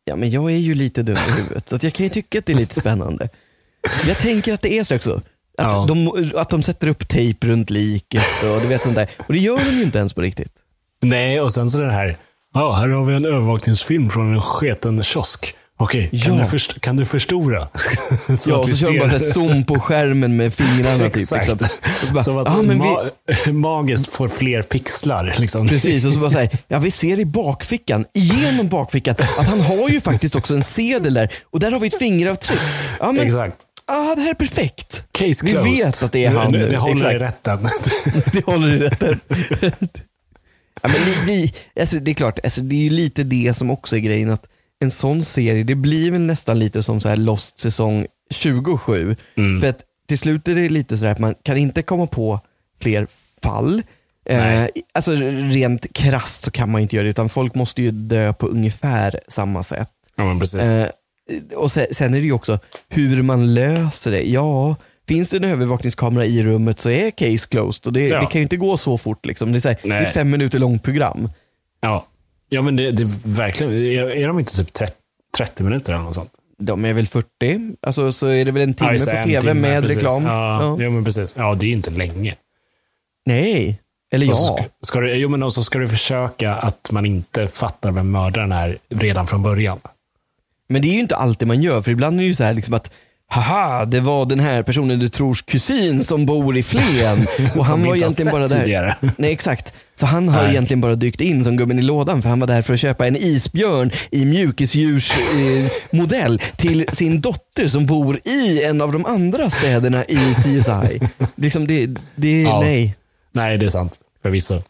Ja, men jag är ju lite dum i huvudet, så att jag kan ju tycka att det är lite spännande. Jag tänker att det är så också. Att, Ja. de, att de sätter upp tejp runt liket och du vet sånt där. Och det gör de ju inte ens på riktigt. Nej, och sen så den här. Ja, här har vi en övervakningsfilm från en sketen kiosk. Okej, kan, Ja. du först- kan du förstora? så Ja, att och vi så kör de bara så ser- här zoom på skärmen med fingrarna. Typ, Exakt. liksom. Och så bara, Som att "Ah, men vi, ma- magiskt får fler pixlar. Liksom. Precis, och så bara så här, ja vi ser i bakfickan, igenom bakfickan, att han har ju faktiskt också en sedel där och där har vi ett fingeravtryck. Ja, men, Exakt. ah, det här är perfekt. Case Vi closed. vet att det är han nu. Det håller i Exakt. rätten. Det håller i rätten. ja, men det, det, alltså, det är klart, alltså, det är ju lite det som också är grejen att en sån serie, det blir väl nästan lite som så här Lost säsong 27. För att till slut är det lite så här att man kan inte komma på fler fall. Eh, alltså rent krasst så kan man ju inte göra det utan folk måste ju dö på ungefär samma sätt. ja, men precis. Eh, och sen, sen är det ju också hur man löser det. Ja, finns det en övervakningskamera i rummet så är case closed. Och det, Ja. det kan ju inte gå så fort. Liksom. Det, är så här, det är Nej. ett fem minuter långt program. Ja, ja men det, det är verkligen. Är, är de inte typ 30, 30 minuter eller något sånt? De är väl 40, alltså, så är det väl en timme Ja, just det, på en tv timme, med precis. reklam. Ja, Ja. Jo, men precis. Ja, det är ju inte länge. Nej, eller Och så ja. ska, ska du, jo, men och så ska du försöka att man inte fattar vem mördaren är redan från början. Men det är ju inte alltid man gör, för ibland är det ju så här liksom att Haha, det var den här personen du trors kusin som bor i Flen. Och Som han vi var inte egentligen har sett bara där. tidigare. Nej, exakt. Så han har Nej. egentligen bara dykt in som gubben i lådan för han var där för att köpa en isbjörn i mjukisdjursmodell eh, modell till sin dotter som bor i en av de andra städerna i CSI. Liksom det, det Ja. nej. Nej, det är sant. Förvisso.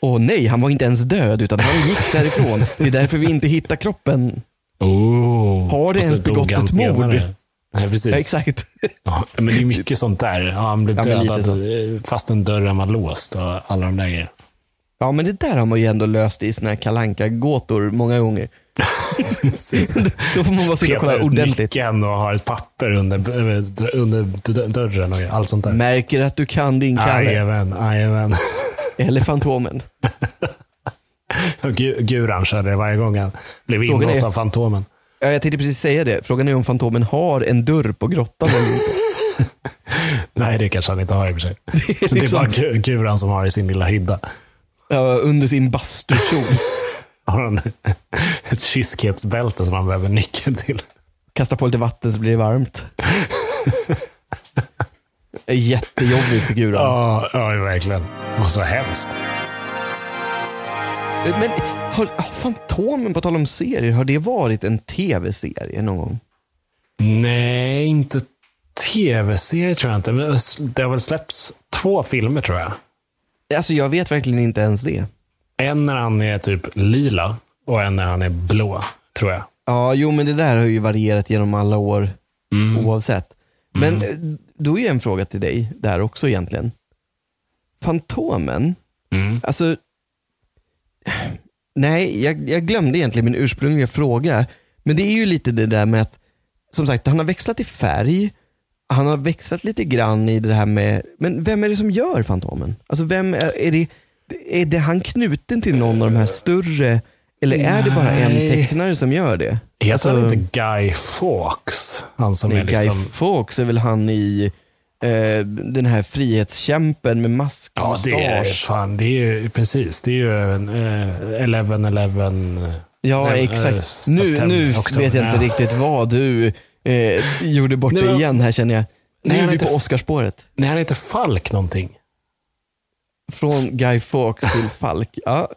Åh nej, han var inte ens död utan han gick därifrån. Det är därför vi inte hittar kroppen. Oh. Har det Och så ens dog begått han ett mord? senare. Nej, precis. Ja, exakt. Ja, men det är mycket sånt där. Ja, han blev Ja, men lite dödad fast en dörren var låst och alla de där grejerna. Ja, men det där har man ju ändå löst i såna här kalanka gåtor många gånger. Då får man vara sitta och Peta kolla ut ordentligt. nyckeln och ha ett papper under, under d- dörren och allt sånt där. Märker att du kan din kalle. Jajamän, jajamän. Eller Fantomen. Och Gu- Guran körde det varje gång han blev Frågan inlåst är- av Fantomen. Ja, jag tänkte precis säga det. Frågan är om Fantomen har en dörr på grottan eller inte. Nej, det kanske han inte har i och för sig. Det är, liksom- bara Gu- Guran som har i sin lilla hydda. Ja, under sin bastukjol. Har han ett kyskhetsbälte som han behöver nyckeln till. Kasta på lite vatten så blir det varmt. Det är Jättejobbig figur. Ja, ja verkligen. Och så hemskt. Men har, har Fantomen, på tal om serier, har det varit en tv-serie någon gång? Nej, inte tv-serie tror jag inte. Men det har väl släppts två filmer tror jag. Alltså jag vet verkligen inte ens det. En när han är typ lila och en när han är blå, tror jag. Ja, jo men det där har ju varierat genom alla år oavsett. Men eh, då är ju en fråga till dig där också egentligen. Fantomen, alltså, nej, jag, jag glömde egentligen min ursprungliga fråga. Men det är ju lite det där med att, som sagt, han har växlat i färg. Han har växlat lite grann i det här med, men vem är det som gör Fantomen? Alltså vem är, är det, är det han knuten till någon av de här större, eller är det bara en Nej. tecknare som gör det? Heter han inte Guy Fawkes? Han som Nej, är liksom... Guy Fawkes är väl han i eh, den här frihetskämpen med mask och Ja, det är, mustasch. fan, det är ju precis. Det är ju eh, 11-11. Ja, Nej, eh, exakt. Nu, september, nu oktober. vet jag inte Ja. riktigt vad du eh, gjorde bort Nej, dig men- igen här känner jag. Nu Nej, är han vi heter på F- Oscarsspåret. Nej, han heter Falk någonting. Från Guy Fawkes till Falk. Ja.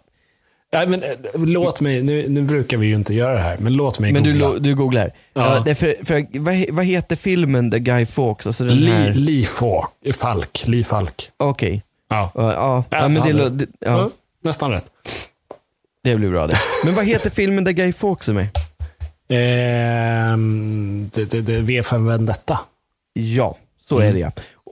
Nej, men eh, låt mig. Nu, nu brukar vi ju inte göra det här, men låt mig Men du, googla. lo- du googlar. Ja. Ja. det är för, för, vad, he- vad heter filmen där Guy Fawkes, alltså den Lee, här... Lee Falk. Falk. Lee Falk. Okej. Ja. Ja, ja. ja, men det, han- lo- det, ja, Ja, Nästan rätt. det blir bra det. Men vad heter filmen där Guy Fawkes är med? Ehm, det, det, det, V5 Vendetta. Ja, så är det ja.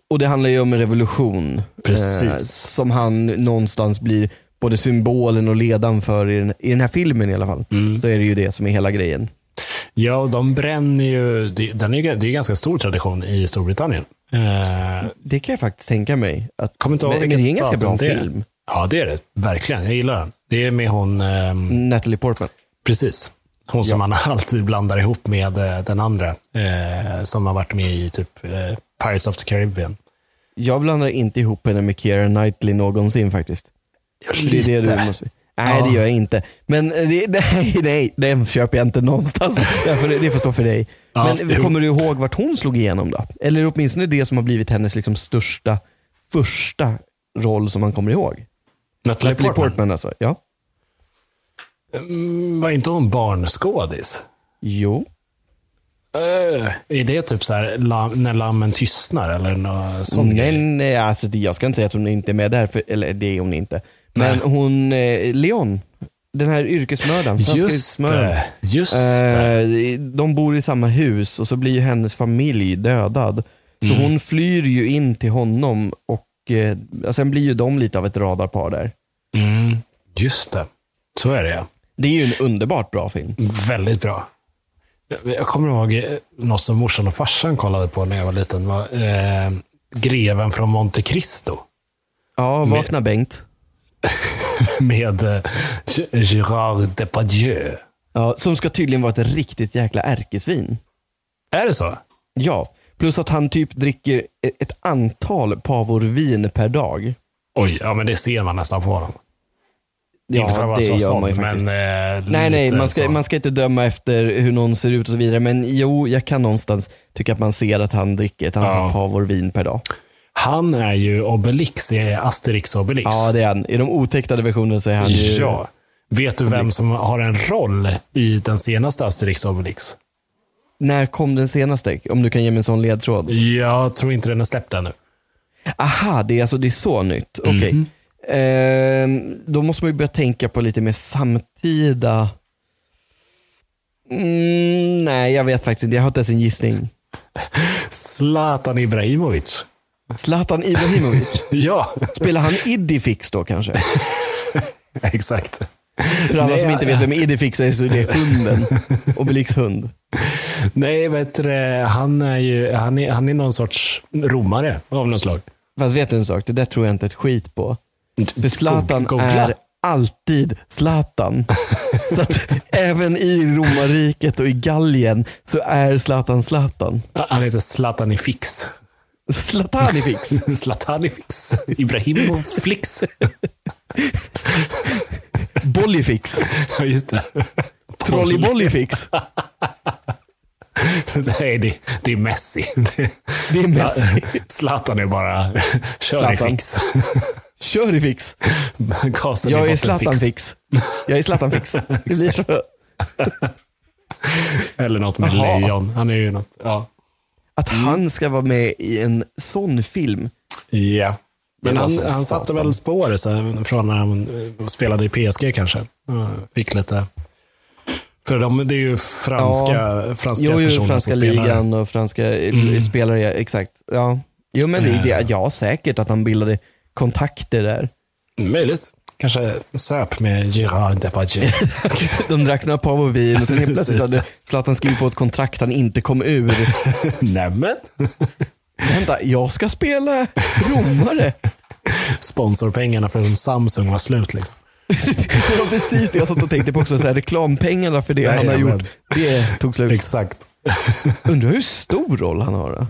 Och det handlar ju om en revolution. eh, Precis. som han någonstans blir både symbolen och ledan för i den, i den här filmen i alla fall. Mm. Så är det ju det som är hela grejen. Ja, och de bränner ju... det- Den är, ju- det är ju ganska stor tradition i Storbritannien. Eh, Det kan jag faktiskt tänka mig. Att, kommer inte ihåg men, men det vilket är en ganska bra datum det är. film. Ja, det är det. Verkligen. Jag gillar den. Det är med hon... ehm, Natalie Portman. Precis. Hon som man alltid blandar ihop med eh, den andra. Eh, som har varit med i typ eh, Pirates of the Caribbean. Jag blandar inte ihop henne med Keira Knightley någonsin faktiskt. Det är det du måste... Nej, Ja. det gör jag inte. Men det, nej, nej, den köper jag inte någonstans. Därför det, det får stå för dig. Ja, Men jo. kommer du ihåg vart hon slog igenom då? Eller åtminstone det som har blivit hennes liksom största, första roll som man kommer ihåg. Natalie Natalie Portman. Portman alltså. Ja. Mm, Var inte hon barnskådis? Jo. Eh, är det typ så här la- när lammen tystnar eller något sånt? Nej, nej, alltså det- jag ska inte säga att hon inte är med där, för, eller det är hon inte. Men Nej. hon, eh, Leon, den här yrkesmördaren, franska Just yrkesmördaren. det. Just det. Eh, de bor i samma hus och så blir ju hennes familj dödad. Så hon flyr ju in till honom och eh, ja, sen blir ju de lite av ett radarpar där. Mm, just det. Så är det ja. Det är ju en underbart bra film. Väldigt bra. Jag- Jag kommer ihåg eh, något som morsan och farsan kollade på när jag var liten. Var, eh, Greven från Monte Cristo. Ja, Vakna Bengt. med eh, G- Gérard Depardieu. Ja, som ska tydligen vara ett riktigt jäkla ärkesvin. Är det så? Ja, plus att han typ dricker e- ett antal pavor vin per dag. Oj, ja men det ser man nästan på honom. Ja, Inte för att vara så sån, men eh, Nej, nej, lite man ska, så. man ska inte döma efter hur någon ser ut och så vidare. Men jo, jag kan någonstans tycka att man ser att han dricker ett antal Ja. pavor vin per dag. Han är ju Obelix i Asterix och Obelix. Ja, det är han. I de otecknade versionerna så är han ju... ja. Vet du vem som har en roll i den senaste Asterix och Obelix? När kom den senaste? Om du kan ge mig en sån ledtråd. Jag tror inte den är släppt ännu. Aha, det är, alltså, det är så nytt. Okej. Mhm. Ehm, då måste man ju börja tänka på lite mer samtida... Mm, nej, jag vet faktiskt inte. Jag har inte ens en gissning. Zlatan Ibrahimovic. Zlatan Ibrahimovic. Ja, Spelar han Iddi Fix då kanske? exakt. För alla Nej, som jag- inte vet vem Idifix är så är det hunden. Obelix hund. Nej, vet du, det, han är ju han är, han är någon sorts romare av något slag. Fast vet du en sak? Det där tror jag inte ett skit på. För Zlatan Googla. är alltid Zlatan. Så att även i romarriket och i Gallien så är Zlatan Zlatan. Han heter Zlatanifix. Zlatanifix. Zlatanifix. Ibrahimovflix. Bollifix. Ja, just det. Trolleybollifix. Nej, det, det är Messi. Det, Det är Messi. Zlatan är bara kör i Zlatan. fix. Körifix. Gasen Jag i är bottenfix. Zlatanfix. Jag är Zlatanfix. Det blir så. Eller något med Jaha. lejon. Han är ju något. Ja. Att han ska vara med i en sån film. Ja. Men Det var han, som han satte väl spår så här, från när han eh, spelade i PSG kanske. Ja, Fick lite... För de, det är ju franska, franska Jo, personer jo, franska som spelar. ligan och franska mm. spelare, ja, exakt. Ja. Jo, men det, Eh. det, ja, säkert att han bildade kontakter där. Möjligt. Kanske söp med Gerard Depardieu. De drack några pavovin vin och sen helt plötsligt Precis. hade Zlatan skrivit på ett kontrakt han inte kom ur. Nämen. Vänta, jag ska spela romare. Sponsorpengarna från Samsung var slut. Liksom. Det var precis det jag satt och tänkte på också. Så här, reklampengarna för det han har Jajamän. gjort, det tog slut. Exakt. Undrar hur stor roll han har då?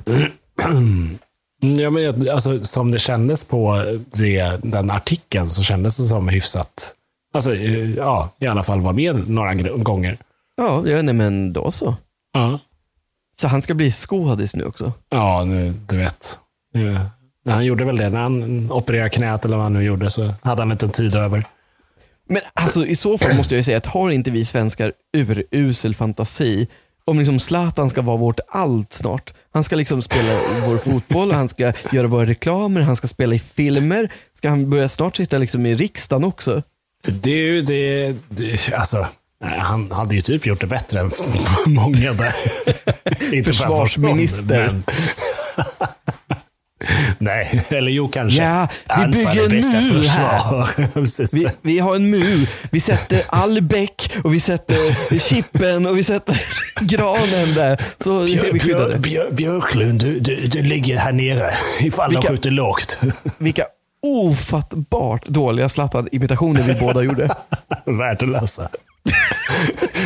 Ja, men jag, alltså, som det kändes på det, den artikeln så kändes det som hyfsat... Alltså, eh, ja, i alla fall var med några gr- gånger. Ja, ja nej, men då så. Ja. Så han ska bli skådis nu också? Ja, nu, du vet. Nu, när han gjorde väl det. När han opererade knät eller vad han nu gjorde så hade han inte en tid över. Men alltså i så fall måste jag ju säga att har inte vi svenskar urusel fantasi om liksom Zlatan ska vara vårt allt snart. Han ska liksom spela vår fotboll, han ska göra våra reklamer, han ska spela i filmer. Ska han börja snart sitta liksom i riksdagen också? Det är ju det, det alltså. nej, Han hade ju typ gjort det bättre än många där. Inte för att vara sån, Försvarsminister. men- Nej, eller jo kanske. Ja, vi Anfall är bygger en bästa mur här. försvar. Precis. Vi, vi har en mur, vi sätter Albeck och vi sätter Chippen och vi sätter granen där. Så Björ, är vi Björ, skyddade. Björ, Björklund, du, du, du ligger här nere ifall Vilka- de skjuter lågt. Vilka ofattbart dåliga Zlatan-imitationer vi båda gjorde. Värdelösa.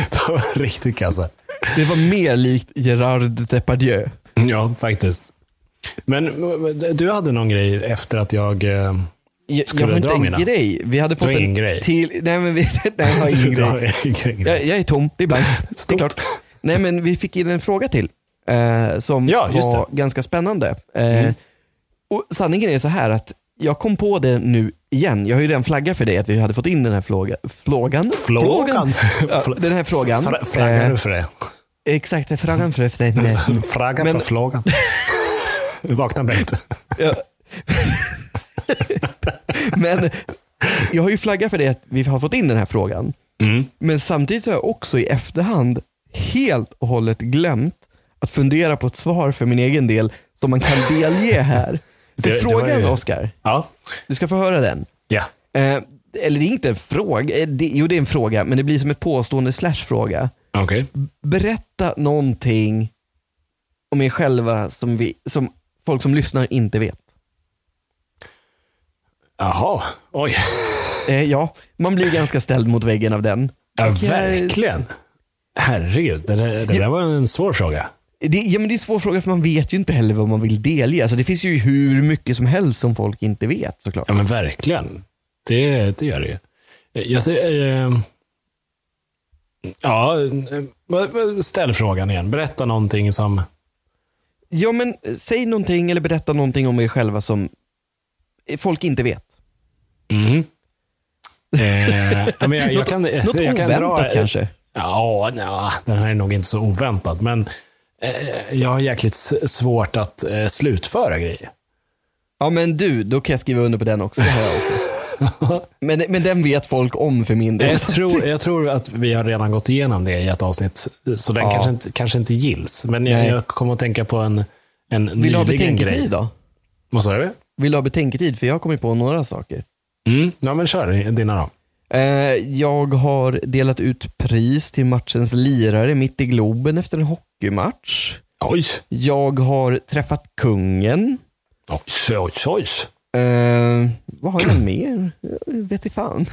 De var riktigt kassa. Det var mer likt Gerard Depardieu. Ja, faktiskt. Men eh, du hade någon grej efter att jag... eh, Jag, Skulle jag har du inte dra en mina? grej. Vi hade fått har ingen en grej? till. Nej, men vi, nej, jag har ingen du har grej. ingen grej. Jag, jag är tom. Det är blankt. Det är Stort. klart. Nej, men vi fick in en fråga till. Eh, som Ja, just Mm. var ganska spännande. Eh, och sanningen är så här att jag kom på det nu igen. Jag har ju redan flaggat för dig att vi hade fått in den här fråga, frågan. Frågan. Ja, Fl- den här frågan. Fra- Frågar Eh, du för det? exakt, frågan för dig. Fråga för men- frågan. Vakna Bengt. Ja. Men jag har ju flaggat för det att vi har fått in den här frågan. Mm. Men samtidigt har jag också i efterhand helt och hållet glömt att fundera på ett svar för min egen del som man kan delge här. För Det- det var frågan ju- Oskar, Ja. du ska få höra den. ja. Eh, eller det är inte en fråga, eh, det, jo det är en fråga, men det blir som ett påstående slash fråga. Okej. Berätta någonting om er själva som, vi, som folk som lyssnar inte vet. Jaha. Oj. Eh, ja, man blir ganska ställd mot väggen av den. Ja, Jag- verkligen. Herregud, det där, det där var en svår fråga. Det, ja, men det är en svår fråga för man vet ju inte heller vad man vill delge. Alltså, det finns ju hur mycket som helst som folk inte vet såklart. Ja, men verkligen. Det, det gör det ju. Jag, ser, eh, ja, eh, vad- vad- ställ frågan igen. Berätta någonting som... Ja, men eh, säg någonting eller berätta någonting om er själva som eh, folk inte vet. Mhm. Eh, ja, men jag, jag kan, jag Något kan oväntat dra, kanske. Ja, nja, den här är nog inte så oväntad, men eh, jag har jäkligt s- svårt att eh, slutföra grejer. Ja, men du, då kan jag skriva under på den också. Det har jag också. men, men den vet folk om för min del. Jag tror, jag tror att vi har redan gått igenom det i ett avsnitt, så den Ja. kanske, inte, kanske inte gills. Men jag, Nej. jag kommer att tänka på en, en Vill du ha nyligen betänketid grej. då? Vad sa du? Vill du ha betänketid? För jag har kommit på några saker. Mm. Ja, men kör dina då. Eh, jag har delat ut pris till matchens lirare mitt i Globen efter en hockeymatch. Oj, Jag har träffat kungen. oj, oj, oj. Eh, vad har jag mer? Jag vet i fan.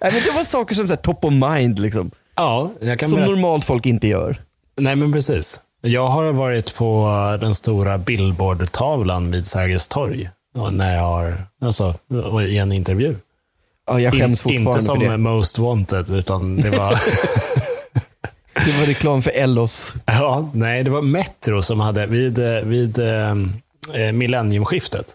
Nej, men det var saker som så här, top of mind, liksom, Ja, jag kan som berätta. normalt folk inte gör. Nej, men precis. Jag har varit på eh, den stora Billboard-tavlan vid Sergels torg. Och När jag har, alltså, och i en intervju. Ja, jag In, skäms fortfarande inte som för det. Most Wanted, utan det var... Det var reklam för Ellos. Ja, nej, det var Metro som hade, vid, eh, vid eh, eh, millenniumskiftet,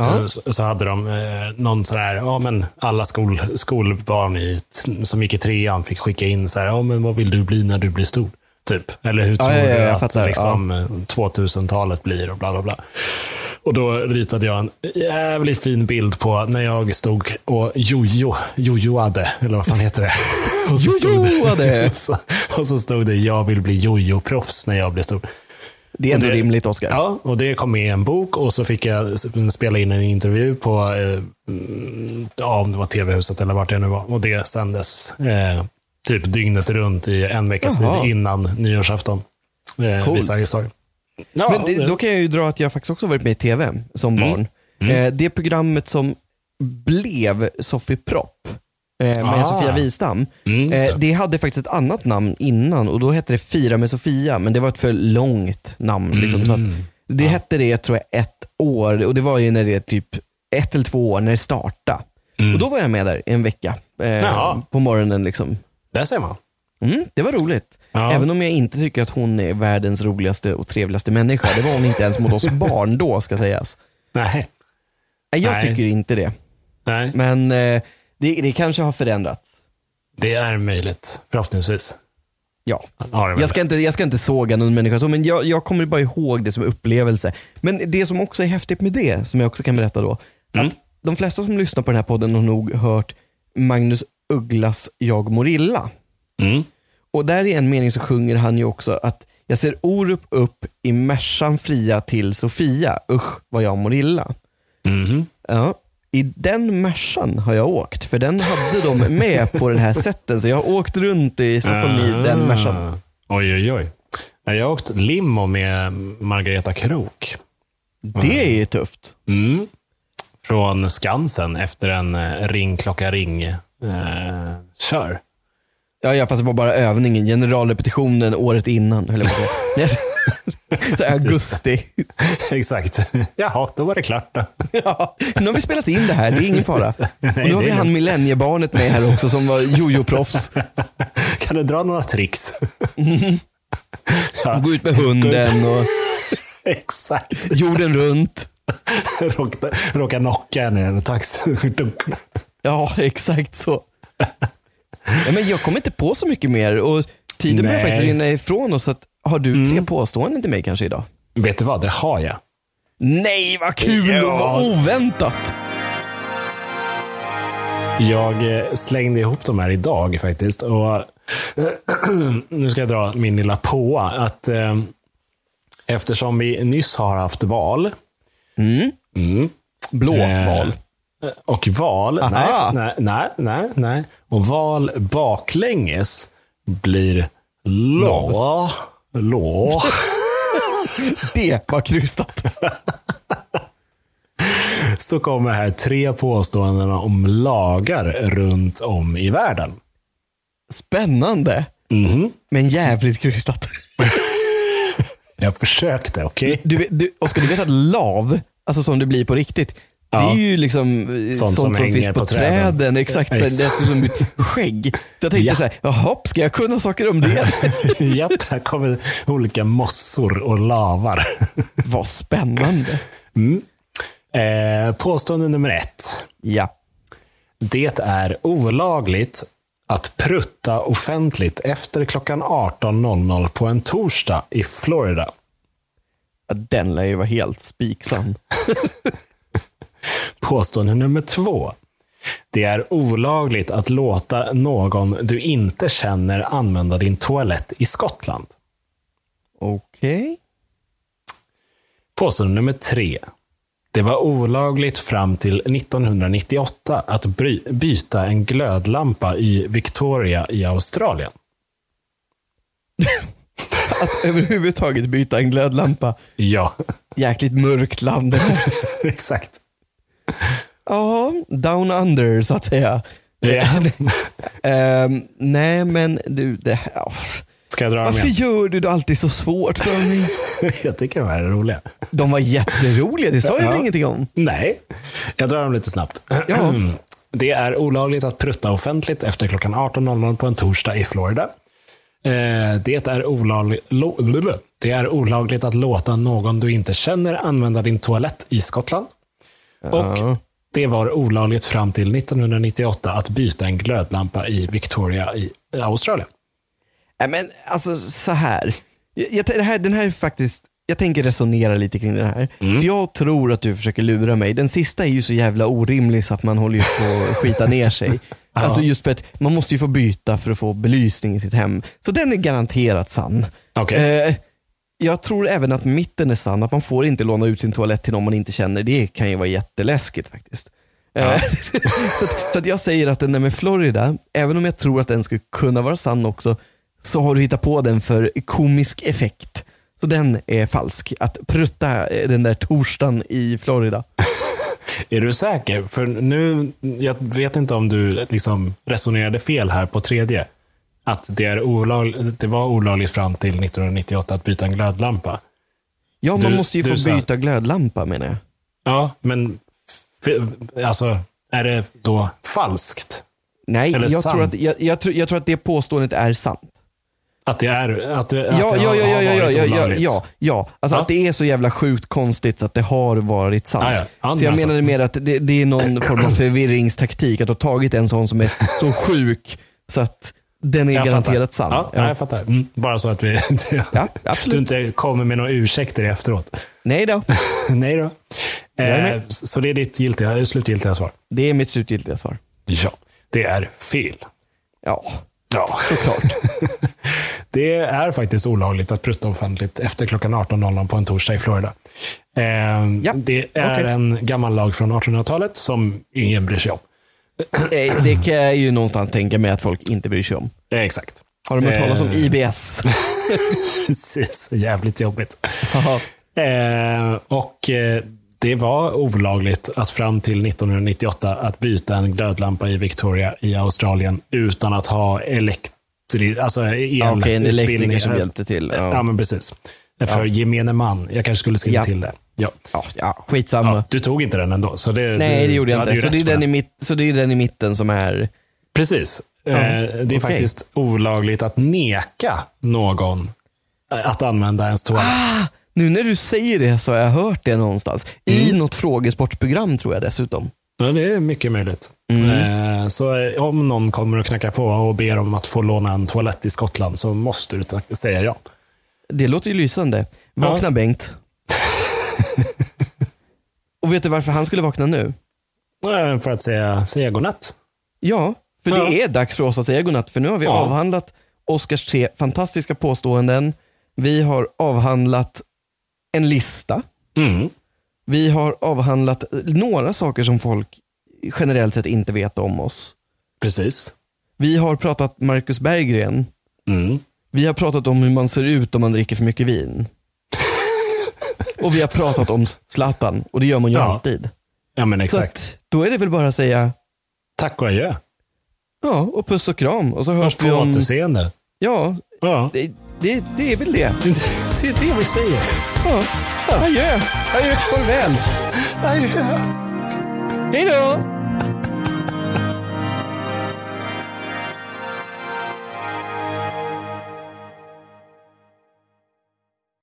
eh, så, så hade de eh, någon sån här, ja men alla skol, skolbarn i, t- som gick i trean fick skicka in så här, ja men vad vill du bli när du blir stor? Typ. Eller hur tror ja, ja, jag du att fattar, liksom, eh, 2000-talet blir och bla bla bla. Och då ritade jag en jävligt fin bild på när jag stod och jojo, jojoade, eller vad fan heter det? Och så stod det- Jojoade! och så, och så stod det, jag vill bli jojo-proffs när jag blir stor. Det är ändå det- rimligt, Oscar. Ja, och det kom med i en bok och så fick jag s- spela in en intervju på, eh, mm, ja, om det var TV-huset eller vart det nu var. Och det sändes eh, typ dygnet runt i en veckas Jaha. tid innan nyårsafton. Eh, Coolt. vid Sergels torg. Ja, Mm. Men det, då kan jag ju dra att jag faktiskt också varit med i tv som barn. Eh, det programmet som blev Sofie Propp eh, med Ah. Sofia Wistam. Mm, just eh, det hade faktiskt ett annat namn innan och då hette det Fira med Sofia, men det var ett för långt namn. Liksom, så Mm. att det hette det, tror jag, ett år och det var ju när det typ ett eller två år när det startade. Och då var jag med där i en vecka eh, Mm. Jaha. på morgonen. Liksom. där ser man. Mm, det var roligt. Ja. Även om jag inte tycker att hon är världens roligaste och trevligaste människa. Det var hon inte ens mot oss barn då, ska sägas. Nej. Nej, jag Nej. tycker inte det. Nej, Men eh, det, det kanske har förändrats. det är möjligt. Förhoppningsvis. Ja. Har det väl. Jag ska, inte, jag ska inte såga någon människa så, men jag, jag kommer bara ihåg det som upplevelse. Men det som också är häftigt med det, som jag också kan berätta då. Mm. Att de flesta som lyssnar på den här podden har nog hört Magnus Ugglas Jag Morilla. Mm. Och där i en mening så sjunger han ju också att jag ser Orup upp i Mersan fria till Sofia. Usch vad jag mår illa. Mhm. Ja. I den Mersan har jag åkt, för den hade de med på den här sätten. Så jag har åkt runt i Stockholm i den Mersan. Ah. Oj, oj, oj. Nej, Jag har åkt limo med Margareta Krook. Det är ju tufft. Mm. Från Skansen efter en eh, ring klocka ring eh, kör. Ja, ja, fast det var bara övningen. Generalrepetitionen året innan, höll jag på att säga. Så här, augusti. Exakt. Jaha, då var det klart då. Ja, nu har vi spelat in det här, det är ingen fara. Precis. Nej, Och nu har det vi är han millenniebarnet med här också som var jojo-proffs. Kan du dra några tricks? Gå ut med hunden och Exakt. jorden runt. Råka, råka knocka henne i en taxi. Dunk. Ja, exakt så. Ja, men jag kommer inte på så mycket mer och tiden börjar Nej. faktiskt rinna ifrån oss. Så att, har du tre påståenden till mig kanske idag? Vet du vad? Det har jag. Nej, vad kul Ja. och vad oväntat. Jag eh, slängde ihop de här idag faktiskt. Och nu ska jag dra min lilla påa. Att, eh, eftersom vi nyss har haft val. Blåval. Eh, Och val, nej, Aha. nej, nej, nej, nej. Och val baklänges blir lå, lå. Det var krystat. Så kommer här tre påståenden om lagar runt om i världen. Spännande. Men jävligt krystat. Jag försökte, okej? Du, vet- du, Oskar, du vet att lav, alltså som det blir på riktigt, det är ju liksom eh, sånt, Sånt som, som finns hänger på, på träden. träden. Exakt, så här, det är som ett skägg. Så jag tänkte Ja. så här, jaha, ska jag kunna saker om det? Japp, här kommer olika mossor och lavar. Vad spännande. Eh, påstående nummer ett. Ja. Det är olagligt att prutta offentligt efter klockan 18.00 på en torsdag i Florida. Ja, Den lär ju vara helt spiksam. Påstående nummer två. Det är olagligt att låta någon du inte känner använda din toalett i Skottland. Okej. Påstående nummer tre. Det var olagligt fram till 1998 att bry- byta en glödlampa i Victoria i Australien. Att överhuvudtaget byta en glödlampa. Ja, Jäkligt mörkt land. exakt. Ja, down under så att säga. Ja. Ehm, nej, men du, det här, ja. Ska jag dra dem Varför igen? gör du det alltid så svårt för mig? Jag tycker de här är roliga. De var jätteroliga, det sa jag Ja. väl ingenting om? Nej, jag drar dem lite snabbt. Ja. Det är olagligt att prutta offentligt efter klockan 18.00 på en torsdag i Florida. Eh, Det är, olagligt, det är olagligt att låta någon du inte känner använda din toalett i Skottland. Och det var olagligt fram till 1998 att byta en glödlampa i Victoria i i Australien. Nej, men alltså så här. Jag, jag, det här, den här är faktiskt, jag tänker resonera lite kring den här. För jag tror att du försöker lura mig. Den sista är ju så jävla orimlig så att man håller ju på att skita ner sig. Alltså just för att man måste ju få byta för att få belysning i sitt hem. Så den är garanterat sann. Okej. Eh, jag tror även att mitten är sann, att man får inte låna ut sin toalett till någon man inte känner. Det kan ju vara jätteläskigt faktiskt. Eh, så att, så att jag säger att den där med Florida, även om jag tror att den skulle kunna vara sann också, så har du hittat på den för komisk effekt. Så den är falsk. Att prutta eh, den där torsdagen i Florida. Är du säker? För nu, jag vet inte om du liksom resonerade fel här på tredje. Att det, är olag, det var olagligt fram till 1998 att byta en glödlampa. Ja, man Du- måste ju du få sa- byta glödlampa menar jag. Ja, men f- alltså, är det då falskt? Nej, Eller jag sant. tror, att, jag, jag, tror, jag tror att det påståendet är sant. Att det, är, att det, att ja, det ja, har, ja, ja, har ja, varit ja, ja, olagligt? ja, ja. Alltså Ja. att det är så jävla sjukt konstigt så att det har varit sant. Ja, ja. Ja, Så jag alltså. menade mer att det, det är någon form av förvirringstaktik, att du har tagit en sån som är så sjuk så att den är Jag garanterat fattar. sann. Ja, Ja. jag fattar. Mm, bara så att vi, Ja, du absolut. inte kommer med några ursäkter efteråt. Nej då, Nej då. Eh, nej. så det är ditt giltiga, slutgiltiga svar? det är mitt slutgiltiga svar. Ja, det är fel. Ja, Ja. klart. Det är faktiskt olagligt att prutta offentligt efter klockan 18.00 på en torsdag i Florida. Eh, Ja, Det är okej. en gammal lag från 1800-talet som ingen bryr sig om. Eh, Det kan jag ju någonstans tänka mig att folk inte bryr sig om. Eh, Exakt. Har de hört talas om Eh. IBS? Precis, jävligt jobbigt. Haha. Eh, och eh, det var olagligt att fram till 1998 att byta en glödlampa i Victoria i Australien utan att ha elektri- alltså Ja, Okej, en elektriker elutbildning. som hjälpte till. Ja, Ja, men precis. För gemene man. Jag kanske skulle skriva Ja. till det. Ja. ja, ja skitsamma. Ja, du tog inte den ändå. Så det, Nej, du, det gjorde du jag hade inte. ju Så rätt det, är för den i den. mitt, så det är den i mitten som är... Precis. Eh, det är okej. faktiskt olagligt att neka någon att använda ens toalett. Ah, Nu när du säger det så har jag hört det någonstans. I Mm. något frågesportprogram tror jag dessutom. Ja, det är mycket möjligt. Mm. Eh, så eh, om någon kommer och knackar på och ber om att få låna en toalett i Skottland så måste du ta- säga ja. Det låter ju lysande. Vakna Bengt. Och vet du varför han skulle vakna nu? Eh, för att säga, säga godnatt. Ja, för det Ja. är dags för oss att säga godnatt. För nu har vi Ja. avhandlat Oscars tre fantastiska påståenden. Vi har avhandlat en lista. Mm. Vi har avhandlat några saker som folk generellt sett inte vet om oss. Precis. Vi har pratat Marcus Berggren. Mm. Vi har pratat om hur man ser ut om man dricker för mycket vin. Och vi har pratat om Zlatan och det gör man ju Ja, alltid. Ja, men Så exakt. att, då är det väl bara att säga Tack och adjö. ja och puss och kram och så hörs Och på vi om... återseende. Ja, Ja. det, det, det är väl det. Det är det vi säger. Ja. Adjö, Adjö. farväl. Adjö. Hej då!